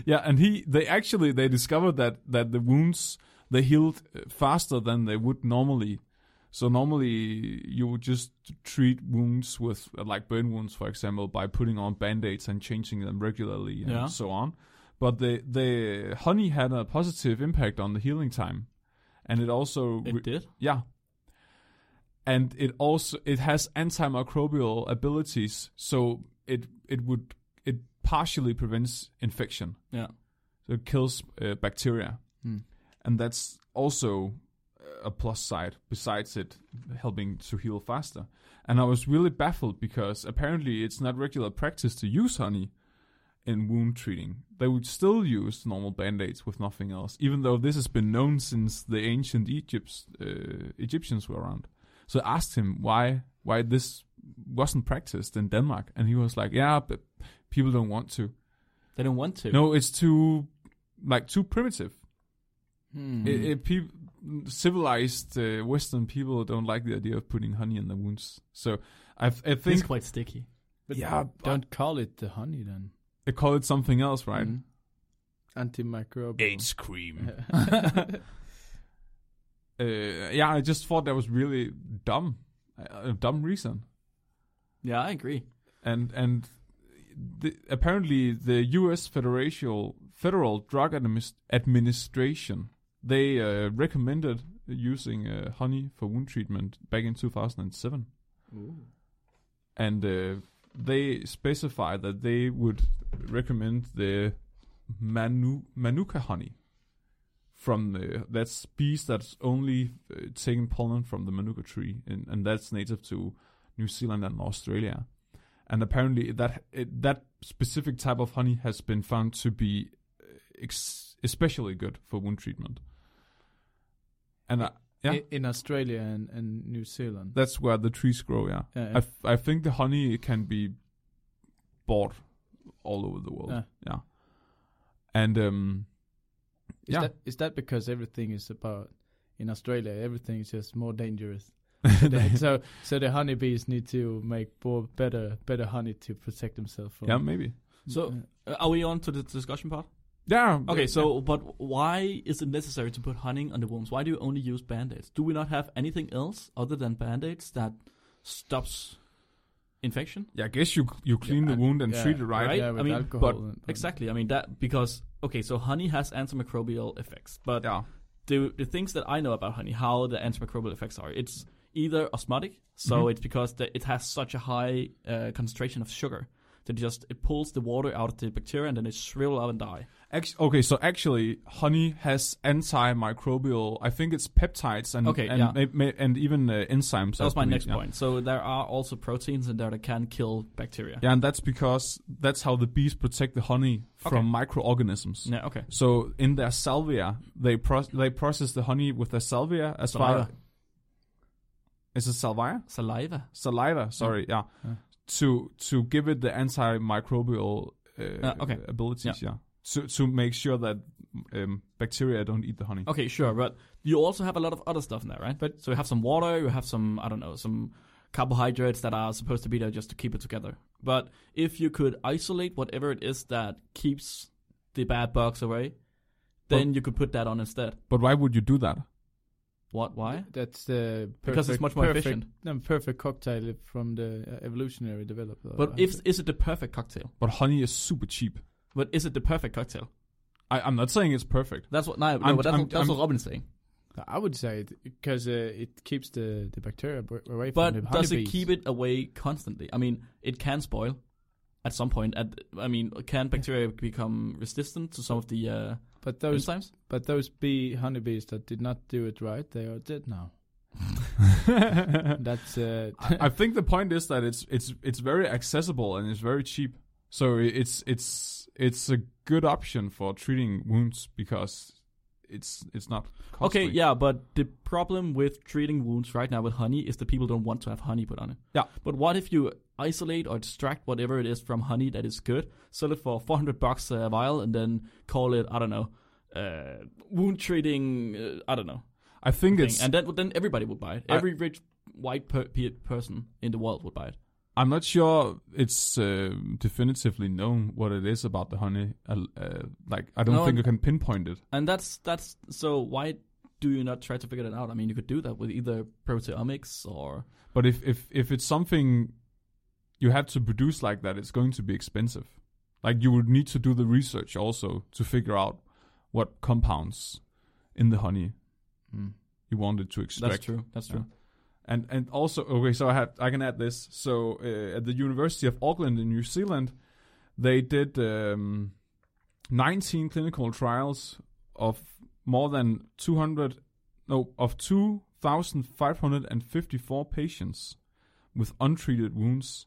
yeah, and he they actually they discovered that that the wounds they healed uh, faster than they would normally. So normally you would just treat wounds with uh, like burn wounds, for example, by putting on band-aids and changing them regularly and
Yeah.
so on. But the the honey had a positive impact on the healing time, and it also
It
re-
did.
yeah. And it also it has antimicrobial abilities, so it it would it partially prevents infection.
Yeah.
So it kills uh, bacteria.
Mm.
And that's also uh, a plus side besides it helping to heal faster. And I was really baffled because apparently it's not regular practice to use honey in wound treating. They would still use normal band-aids with nothing else, even though this has been known since the ancient Egypt's, uh, Egyptians were around. So I asked him why why this wasn't practiced in Denmark, and he was like, "Yeah, but people don't want to.
They don't want to.
No, it's too like too primitive.
Hmm.
It, it, peop civilized uh, Western people don't like the idea of putting honey in the wounds. So i I
It's
think
quite sticky.
But
yeah,
Don't call it the honey then.
they call it something else, right?
Mm. Antimicrobial.
cream. uh, yeah, I just thought that was really dumb, a a dumb reason.
Yeah, I agree.
and and the, apparently the U.S. Federal Federal Drug Adminis- Administration they uh, recommended using uh, honey for wound treatment back in 2007, and uh, they specified that they would recommend the manu- manuka honey from the that species that's only uh, taken pollen from the manuka tree, and, and that's native to New Zealand and Australia and apparently that it, that specific type of honey has been found to be uh, ex- especially good for wound treatment. And I, Yeah.
I- In Australia and, and New Zealand.
that's where the trees grow. Yeah,
Yeah,
I, f- I think the honey can be bought all over the world.
Yeah.
Yeah, and um,
Is
yeah.
that is that because everything is about in Australia everything is just more dangerous? so so the honeybees need to make more better better honey to protect themselves from.
yeah, maybe.
So, uh, are we on to the discussion part?
Yeah.
Okay, so, but why is it necessary to put honey on the wounds? Why do you only use band aids? Do we not have anything else other than band aids that stops infection?
yeah, I guess you you clean
Yeah,
the wound and
yeah,
treat it right.
right?
Yeah,
I
with
mean,
alcohol.
but-
and-
Exactly. I mean, that because, okay, so honey has antimicrobial effects, but
Yeah.
the, the things that I know about honey, how the antimicrobial effects are, it's either osmotic, so
Mhm.
it's because the, it has such a high uh, concentration of sugar that it just it pulls the water out of the bacteria and then it shrivel up and die.
Act- okay, so actually, honey has antimicrobial. I think it's peptides and
Okay,
and,
yeah.
may- may- and even uh, enzymes.
That was
I
my
believe,
next
yeah.
point. So there are also proteins in there that can kill bacteria.
Yeah, and that's because that's how the bees protect the honey from
Okay.
microorganisms.
Yeah, okay.
So in their salvia, they pro- they process the honey with their salvia as far.
Saliva.
Is it salvia?
Saliva.
Saliva. Sorry, yeah.
Yeah.
To to give it the antimicrobial uh,
Ah, okay.
abilities, yeah. To to make sure that um, bacteria don't eat the honey.
Okay, sure, but you also have a lot of other stuff in there, right? But so you have some water, you have some I don't know, some carbohydrates that are supposed to be there just to keep it together. But if you could isolate whatever it is that keeps the bad bugs away, then you could put that on instead.
But why would you do that?
What? Why?
That's the perfect,
Because it's much more
perfect,
efficient.
No, perfect cocktail from the uh, evolutionary developer.
But if is it the perfect cocktail?
But honey is super cheap.
But is it the perfect cocktail?
I, I'm not saying it's perfect.
That's what. No, no,
I'm-
but that's,
I'm-
what, that's
I'm-
what Robin's saying.
I would say it because uh, it keeps the the bacteria b- away from the
But does it
honeybees.
keep it away constantly? I mean, it can spoil at some point. At I mean, can bacteria become resistant to some of the uh,
But those
enzymes?
but those bee honeybees that did not do it right, they are dead now. That's uh,
I, I think the point is that it's it's it's very accessible and it's very cheap. So i- it's it's it's a good option for treating wounds because it's it's not costly.
Okay, yeah, but the problem with treating wounds right now with honey is that people don't want to have honey put on it.
Yeah.
But what if you isolate or extract whatever it is from honey that is good, sell it for 400 bucks a vial, and then call it, I don't know, uh, wound treating, uh, I don't know.
I think
Thing.
it's.
And then, then everybody would buy it.
I-
Every rich white per- pe- person in the world would buy it.
I'm not sure it's uh, definitively known what it is about the honey. Uh, uh, like I don't
No,
think
and-
you can pinpoint it.
And that's that's so why do you not try to figure that out? I mean, you could do that with either proteomics or
But if if if it's something you have to produce like that, it's going to be expensive. Like you would need to do the research also to figure out what compounds in the honey
mm.
you wanted to extract.
that's true. That's true.
And and also okay, so I have I can add this. So uh, at the University of Auckland in New Zealand, they did um, 19 clinical trials of more than 200 no of 2,554 patients with untreated wounds,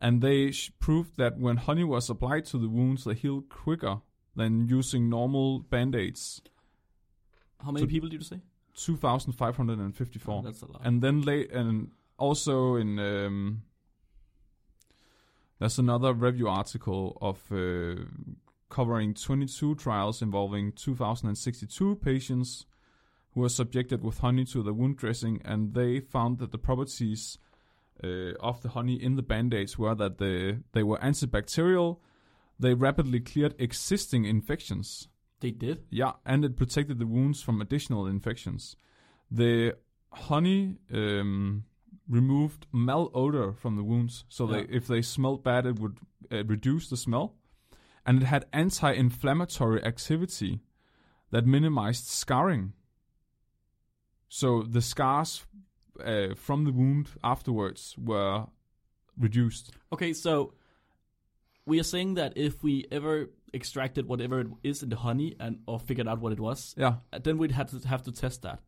and they sh- proved that when honey was applied to the wounds, they healed quicker than using normal band aids.
How many
So-
people did you say? Oh,
2,554
That's a lot.
and then late and also in um there's another review article of uh, covering 22 trials involving 2062 patients who were subjected with honey to the wound dressing and they found that the properties uh, of the honey in the band-aids were that the, they were antibacterial they rapidly cleared existing infections
they did.
yeah, and it protected the wounds from additional infections. The honey um, removed malodor from the wounds, so
Yeah.
they, if they smelled bad, it would uh, reduce the smell. And it had anti-inflammatory activity that minimized scarring. So the scars uh, from the wound afterwards were reduced.
Okay, so we are saying that if we ever extracted whatever it is in the honey and or figured out what it was,
Yeah,
uh, then we'd have to have to test that.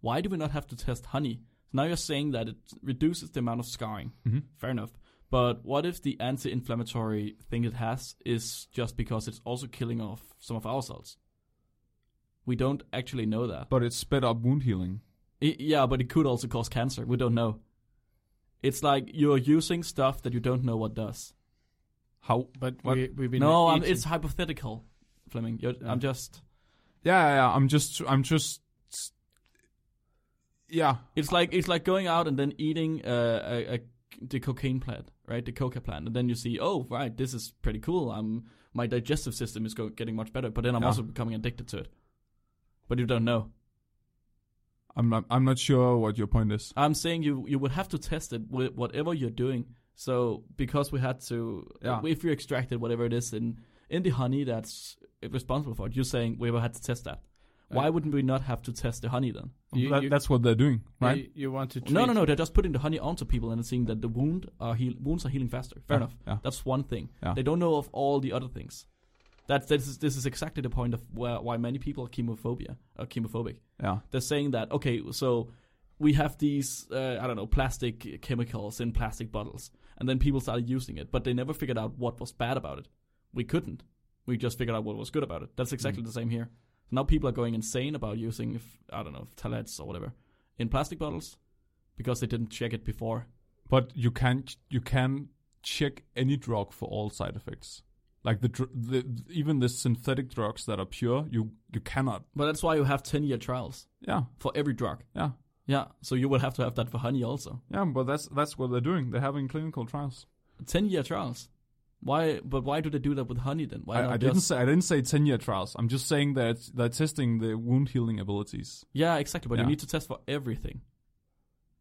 Why do we not have to test honey? Now you're saying that it reduces the amount of scarring.
Mhm.
Fair enough. But what if the anti-inflammatory thing it has is just because it's also killing off some of our cells? We don't actually know that.
but it sped up wound healing.
I- yeah, but it could also cause cancer. We don't know. It's like you're using stuff that you don't know what does.
How?
But
What?
we we've been
No, I'm,
eating-
it's hypothetical, Fleming. You're, I'm just.
Yeah, yeah, yeah. I'm just, I'm just. Yeah,
It's like it's like going out and then eating uh, a, a, the cocaine plant, right? The coca plant, and then you see, oh, right, this is pretty cool. I'm my digestive system is go, getting much better, but then I'm
Yeah.
also becoming addicted to it. But you don't know.
I'm not, I'm not sure what your point is.
I'm saying you you would have to test it with whatever you're doing. So because we had to,
Yeah.
if you extracted whatever it is in in the honey that's responsible for it, you're saying we would have to test that. Why
Uh,
wouldn't we not have to test the honey then?
You-
that,
you-
that's what they're doing, right?
You, you want to treat
No, no, no. They're just putting the honey onto people and seeing that the wound are heal- wounds are healing faster. Fair
Yeah,
enough.
yeah.
That's one thing.
Yeah.
They don't know of all the other things. That's this is, this is exactly the point of where, why many people are chemophobia or chemophobic.
Yeah.
They're saying that okay, so we have these uh, I don't know plastic chemicals in plastic bottles, and then people started using it, but they never figured out what was bad about it. We couldn't. We just figured out what was good about it. That's exactly the same here. Now people are going insane about using if, I don't know tallets or whatever in plastic bottles because they didn't check it before.
But you can you can check any drug for all side effects. Like the, dr- the even the synthetic drugs that are pure, you you cannot.
But that's why you have ten year trials
Yeah,
for every drug.
yeah,
Yeah, so you would have to have that for honey also.
yeah. But that's that's what they're doing. They're having clinical trials.
Ten year trials. Why? But why do they do that with honey then? Why
I,
not
I didn't
just-
say I didn't say ten year trials. I'm just saying that they're testing the wound healing abilities.
Yeah, exactly. But
Yeah.
you need to test for everything,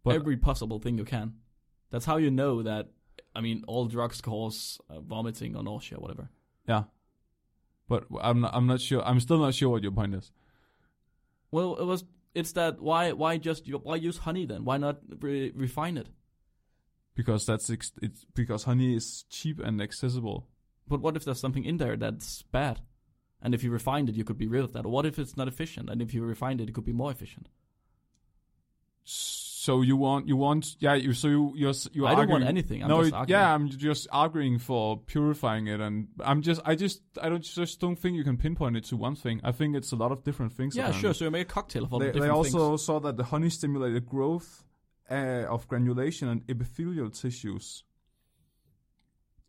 But
every possible thing you can. That's how you know that. I mean, all drugs cause uh, vomiting or nausea, whatever.
yeah, but I'm not, I'm not sure. I'm still not sure what your point is.
Well, it was. It's that why? Why just? Why use honey then? Why not re- refine it?
Because that's ex- it's because honey is cheap and accessible.
But what if there's something in there that's bad? And if you refined it, you could be rid of that. Or what if it's not efficient? And if you refined it, it could be more efficient.
So you want you want yeah you so you you're s- you're
I don't
arguing,
want anything. I'm
no
just
it-
arguing.
yeah I'm just arguing for purifying it and I'm just I just I don't just don't think you can pinpoint it to one thing. I think it's a lot of different things.
Yeah,
apparently.
sure. So you make a cocktail of all
They,
the
they
different things.
also saw that the honey stimulated growth uh, of granulation and epithelial tissues.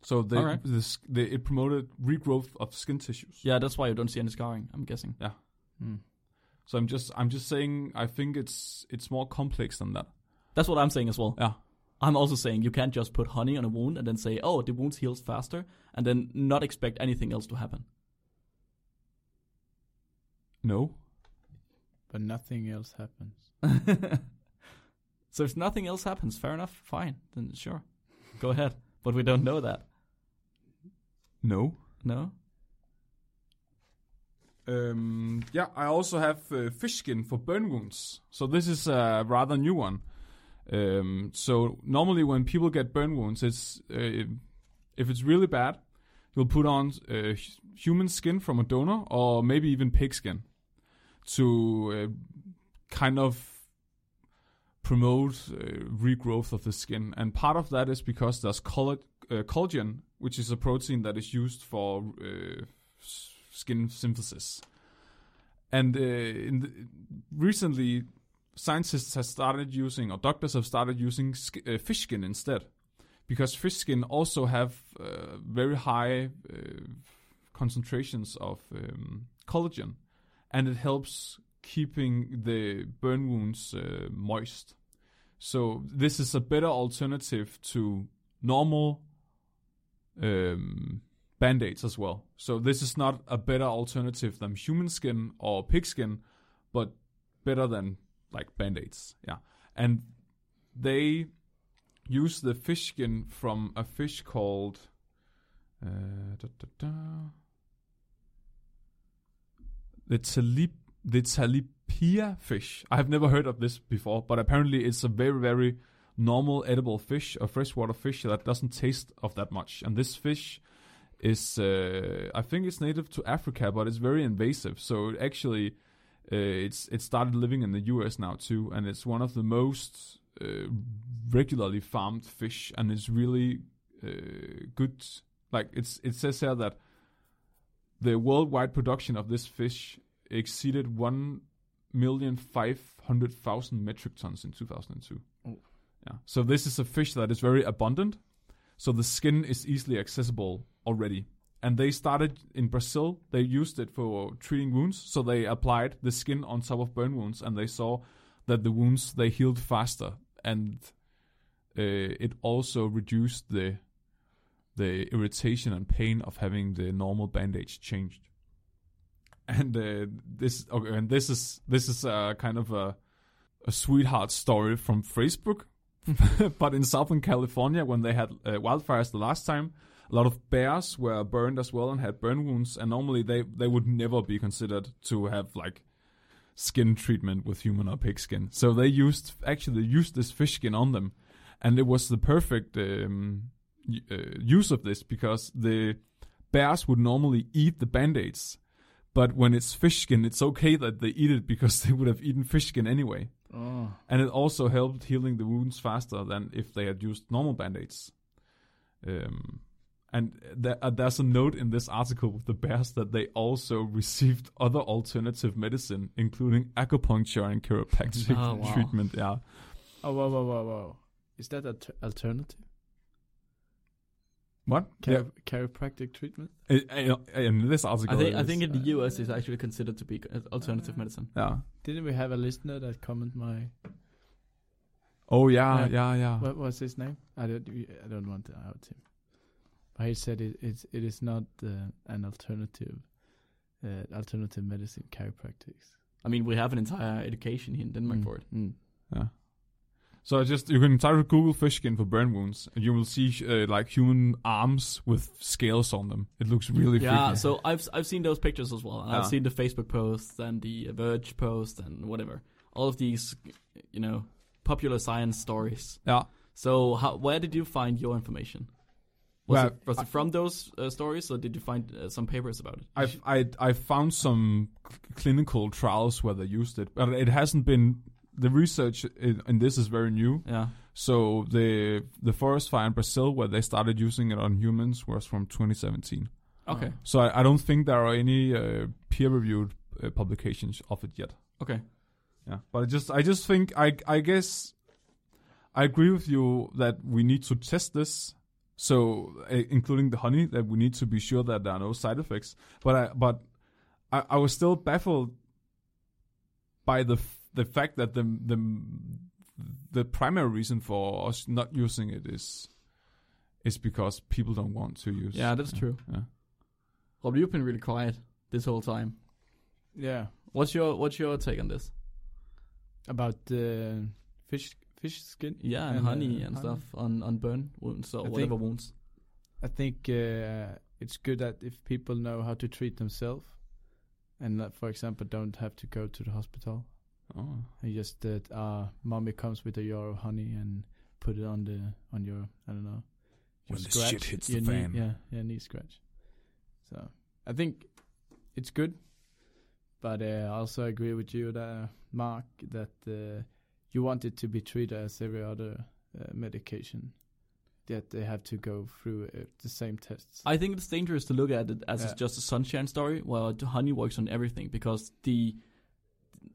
So they,
Alright.
the s they, it promoted regrowth of skin tissues.
Yeah, that's why you don't see any scarring. I'm guessing.
Mm.
So I'm just I'm just saying I think it's it's more complex than that.
That's what I'm saying as well.
Yeah.
I'm also saying you can't just put honey on a wound and then say, "Oh, the wound heals faster," and then not expect anything else to happen.
No.
But nothing else happens.
so if nothing else happens, fair enough, fine, then sure, go ahead. But we don't know that.
No.
No.
Um, yeah, I also have uh, fish skin for burn wounds. So this is a rather new one. Um, so normally when people get burn wounds, it's uh, if it's really bad, you'll put on uh, hu- human skin from a donor or maybe even pig skin to uh, kind of promote uh, regrowth of the skin. And part of that is because there's colla- uh, collagen, which is a protein that is used for uh, s- skin synthesis. And uh, in the, recently, scientists have started using, or doctors have started using sk- uh, fish skin instead, because fish skin also have uh, very high uh, concentrations of um, collagen, and it helps keeping the burn wounds uh, moist. So this is a better alternative to normal um, band-aids as well. So this is not a better alternative than human skin or pig skin, but better than like band-aids. Yeah. And they use the fish skin from a fish called uh, da, da, da, the talip the talipia fish. I have never heard of this before, but apparently it's a very very normal edible fish, a freshwater fish that doesn't taste of that much. And this fish is, uh, I think it's native to Africa, but it's very invasive. So it actually, uh, it's it started living in the U.S. now too, and it's one of the most uh, regularly farmed fish, and it's really uh, good. Like it's it says here that the worldwide production of this fish exceeded one million five hundred thousand metric tons in 2002. Yeah. So this is a fish that is very abundant. So the skin is easily accessible already. And they started in Brazil. They used it for treating wounds. So they applied the skin on top of burn wounds, and they saw that the wounds they healed faster, and uh, it also reduced the the irritation and pain of having the normal bandage changed. And uh, this okay, and this is this is uh, kind of a a sweetheart story from Facebook, but in Southern California, when they had uh, wildfires the last time, a lot of bears were burned as well and had burn wounds. And normally they they would never be considered to have like skin treatment with human or pig skin. So they used actually they used this fish skin on them, and it was the perfect um, y- uh, use of this because the bears would normally eat the band-aids. But when it's fish skin, it's okay that they eat it because they would have eaten fish skin anyway.
Oh.
And it also helped healing the wounds faster than if they had used normal band-aids. Um, and th- uh, there's a note in this article with the bears that they also received other alternative medicine, including acupuncture and chiropractic
Oh, wow.
treatment. Yeah.
Oh, whoa, whoa, whoa, whoa. Is that an alternative?
What?
Chiro- Chiropractic treatment?
Yeah. Uh, uh, In this article,
I think
it
I
is.
think in the
uh,
US it's actually considered to be co- alternative medicine.
Yeah.
Didn't we have a listener that comment my...
Oh yeah,
Right.
yeah, yeah.
What was his name? I don't. I don't want to out him. But he said it. It's. It is not uh, an alternative. Uh, alternative medicine chiropractics.
I mean, we have an entire education here in Denmark
Mm,
for it.
mm.
So I just you can type in Google fish skin for burn wounds, and you will see uh, like human arms with scales on them. It looks really
Yeah,
freaky.
so I've I've seen those pictures as well, and I've
Yeah.
seen the Facebook posts and the Verge post and whatever. All of these, you know, popular science stories.
Yeah.
So, how, where did you find your information? Was,
Well,
it, was it from those uh, stories, or did you find uh, some papers about it?
I've, I I found some cl- clinical trials where they used it, but it hasn't been the research in, in this is very new.
Yeah,
So the the forest fire in Brazil where they started using it on humans was from 2017.
Okay.
So I, I don't think there are any uh, peer reviewed uh, publications of it yet.
okay.
Yeah, but I just I just think I I guess I agree with you that we need to test this. So uh, including the honey, that we need to be sure that there are no side effects. But I but I, I was still baffled by the f- the fact that the the the primary reason for us not using it is is because people don't want to use.
Yeah, that's true.
Yeah.
Rob, you've been really quiet this whole time.
Yeah.
What's your What's your take on this?
About uh, fish. Fish skin.
Yeah, and,
And, uh,
honey and
honey.
stuff on on burn wounds or
I
whatever
think-
wounds.
I think uh, it's good that if people know how to treat themselves, and that, for example, don't have to go to the hospital.
Oh.
And just that uh, mommy comes with a jar of honey and put it on the on your I don't know. your
When the shit hits the
your knee-
fan.
Yeah, yeah, knee scratch. So I think it's good, but uh, I also agree with you, there, Mark, that uh, you want it to be treated as every other uh, medication. That they have to go through uh, the same tests.
I think it's dangerous to look at it as
Yeah.
it's just a sunshine story, while the honey works on everything because the,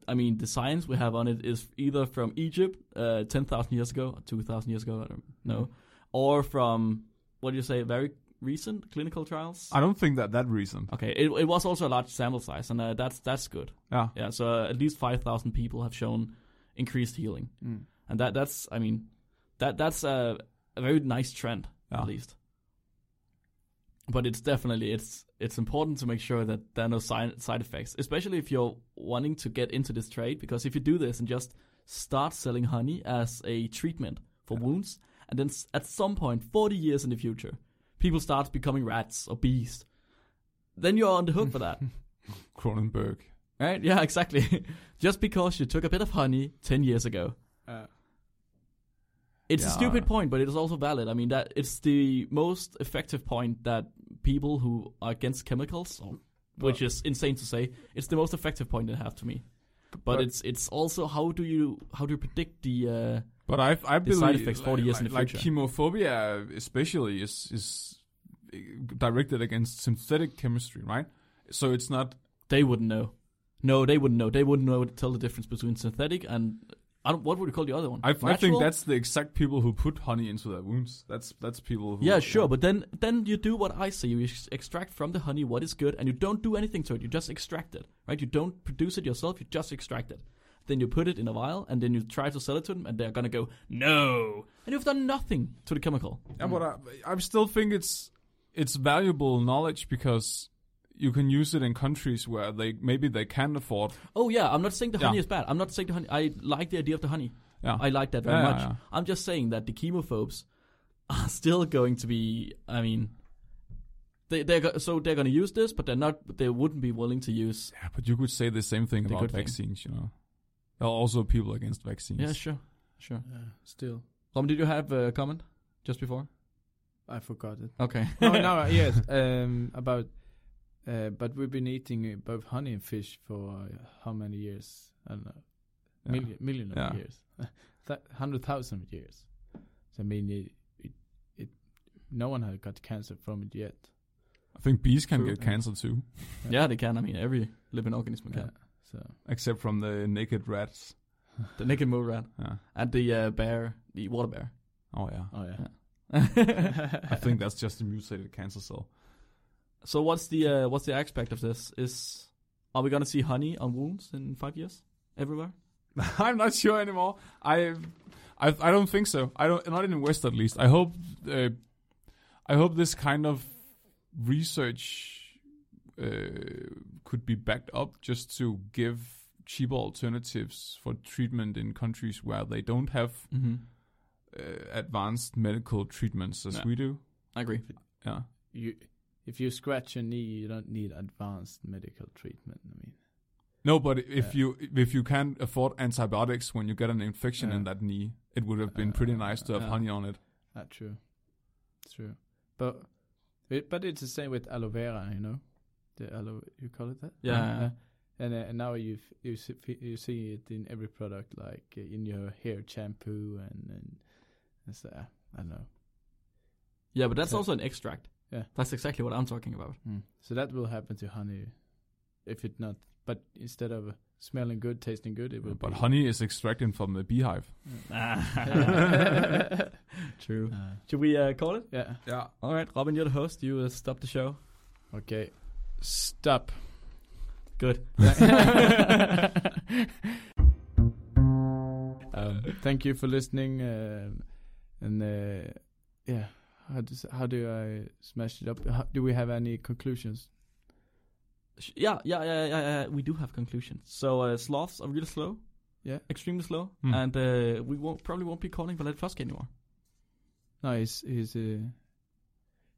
I mean, the science we have on it is either from Egypt, uh, ten thousand years ago, or two thousand years ago, I don't know, or from what do you say, very recent clinical trials.
I don't think that that reason.
okay, it, it was also a large sample size, and uh, that's that's good.
Yeah.
Yeah, so uh, at least five thousand people have shown increased healing,
Mm.
and that that's I mean, that that's a, a very nice trend
Yeah.
at least. But it's definitely it's it's important to make sure that there are no side side effects, especially if you're wanting to get into this trade. Because if you do this and just start selling honey as a treatment for wounds, and then s- at some point, forty years in the future, people start becoming rats or bees, then you're on the hook for that.
Cronenberg.
Right? Yeah, exactly. Just because you took a bit of honey 10 years ago.
Uh,
It's a
Yeah.
stupid point, but it is also valid. I mean, that it's the most effective point that people who are against chemicals,
Mm.
or- which is insane to say, it's the most effective point they have to me. But,
But-
it's it's also how do you how do you predict the uh,
But I, I
The
believe
side effects 40 years
like,
in the
like
future.
chemophobia, especially, is is directed against synthetic chemistry, right? So it's not.
they wouldn't know. No, they wouldn't know. They wouldn't know to tell the difference between synthetic and I don't, what would you call the other one?
I, I think
Natural?
that's the exact people who put honey into their wounds. That's that's people. Who,
Yeah, sure, but then then you do what I say. You ex- extract from the honey what is good, and you don't do anything to it. You just extract it, right? You don't produce it yourself. You just extract it. Then you put it in a vial, and then you try to sell it to them, and they're gonna go no, and you've done nothing to the chemical.
Yeah, but I, I still think it's it's valuable knowledge because you can use it in countries where they maybe they can afford.
Oh yeah, I'm not saying the
Yeah.
honey is bad. I'm not saying the honey. I like the idea of the honey.
Yeah.
I like that very
Yeah,
much.
yeah.
I'm just saying that the chemophobes are still going to be. I mean, they they are so they're gonna use this, but they're not. They wouldn't be willing to use.
yeah, but you could say the same thing
They
about
could think.
vaccines. You know, there are also people against vaccines.
Yeah, sure, sure.
still,
Tom, did you have a comment just before?
I forgot it.
Okay.
No, no, yes. Um, about, uh, but we've been eating uh, both honey and fish for uh, how many years? I don't know,
Yeah.
million, million of
Yeah.
years, Th- hundred thousand years. So I mean, it, it, it, no one has got cancer from it yet.
I think bees can
True.
get cancer too,
Yeah, they can. I mean, every living organism can.
Yeah. So
except from the naked rats.
The naked mole rat
Yeah.
and the uh, bear, the water bear.
Oh yeah.
oh yeah,
Yeah.
I think that's just a mutated cancer cell.
So what's the uh, what's the aspect of this? Is are we gonna see honey on wounds in five years everywhere?
I'm not sure anymore. I, I, I don't think so. I don't. Not in the West, at least. I hope. Uh, I hope this kind of research uh, could be backed up just to give cheaper alternatives for treatment in countries where they don't have
Mm-hmm.
uh, advanced medical treatments as
Yeah.
we do.
I agree.
Yeah.
you. If you scratch your knee, you don't need advanced medical treatment. I mean,
No, but if
Yeah.
you if you can't afford antibiotics when you get an infection in
Yeah. Uh,
that knee, it would have been pretty nice to have
Yeah.
honey on it.
that's true. It's true, but it, but it's the same with aloe vera. You know, the aloe. You call it that?
Yeah.
Uh, and, uh, and now you f- you see, you see it in every product, like uh, in your hair shampoo and and it's, uh, I don't know.
Yeah, but that's
Yeah.
also an extract.
Yeah.
That's exactly what I'm talking about.
Hmm. So that will happen to honey, if it not. But instead of uh, smelling good, tasting good, it will.
But
be-
honey is extracted from the beehive.
Yeah.
True.
Uh,
Should we uh, call it?
yeah.
Yeah.
All right, Robin, you're the host. You uh, stop the show.
Okay. Stop.
Good.
um, thank you for listening. um and uh, yeah, how do how do I smash it up? How, do we have any conclusions?
Sh- yeah, yeah, yeah, yeah, yeah. We do have conclusions. So uh, sloths are really slow.
Yeah.
Extremely slow,
Hmm.
and uh, we won't probably won't be calling Valet Frosk anymore.
No, he's he's uh,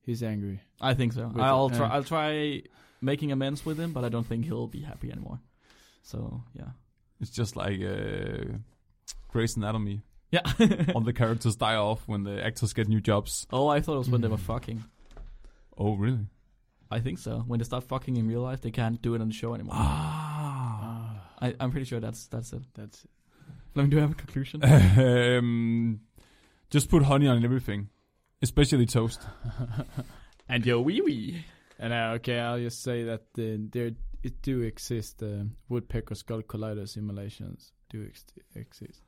he's angry.
I think so.
With-
I'll
yeah.
try. I'll try making amends with him, but I don't think he'll be happy anymore. So yeah.
It's just like uh, Grey's Anatomy.
Yeah.
All the characters die off when the actors get new jobs.
oh, I thought it was when they were
Mm.
fucking.
Oh, really?
I think so. When they start fucking in real life, they can't do it on the show anymore.
Ah.
I,
Ah,
I'm pretty sure that's that's it.
that's
Fleming, do you have a conclusion?
um, just put honey on everything, especially toast.
and your wee wee.
and uh, okay. I'll just say that uh, there it do exist. Uh, woodpecker skull collider simulations do ex- exist.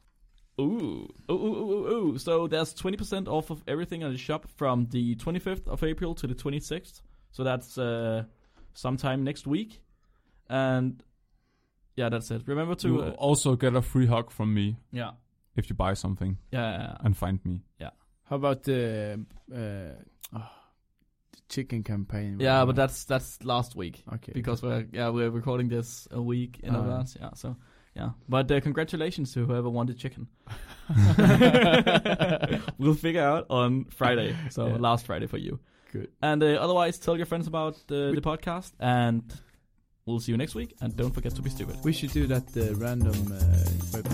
Ooh. Ooh, ooh, ooh, ooh, ooh. So there's 20% off of everything on the shop from the 25th of April to the 26th. So that's uh, sometime next week. And yeah, that's it. Remember to.
you
Uh,
also get a free hug from me
yeah.
if you buy something
Yeah, yeah, yeah.
and find me.
How about the uh, oh, the chicken campaign?
Yeah, but that's that's last week
okay
because we're yeah we're recording this a week in
Ah.
advance. Yeah, so yeah. But uh, congratulations to whoever won the chicken. we'll figure out on Friday. So
Yeah.
last Friday for you.
Good.
And uh, otherwise, tell your friends about uh, the podcast, and we'll see you next week. And don't forget to be stupid.
we should do that uh, random uh, web-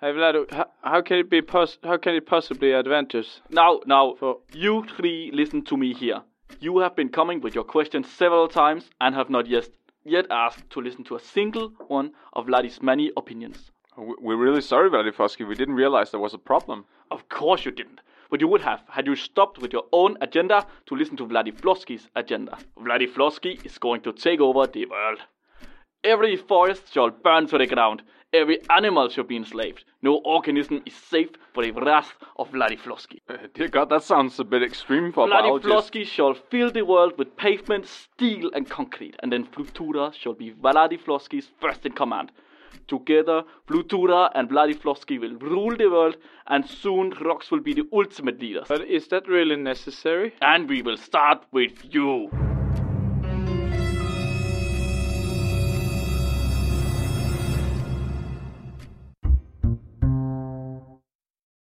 Hey Vlado, how, how can it be pos- how can it possibly adventures?
Now, now,
For-
you three, listen to me here. You have been coming with your questions several times and have not yet yet asked to listen to a single one of Vladdy's many opinions.
We're really sorry, Vladifosky. We didn't realize there was a problem.
Of course you didn't. But you would have had you stopped with your own agenda to listen to Vladivosky's agenda. Vladivosky is going to take over the world. Every forest shall burn to the ground. Every animal shall be enslaved. No organism is safe for the wrath of Vladivosky.
Uh, Dear God, that sounds a bit extreme for
Vladivosky shall fill the world with pavement, steel, and concrete, and then Flutura shall be Vladivosky's first in command. Together, Flutura and Vladivosky will rule the world, and soon Rox will be the ultimate leader.
But is that really necessary?
And we will start with you.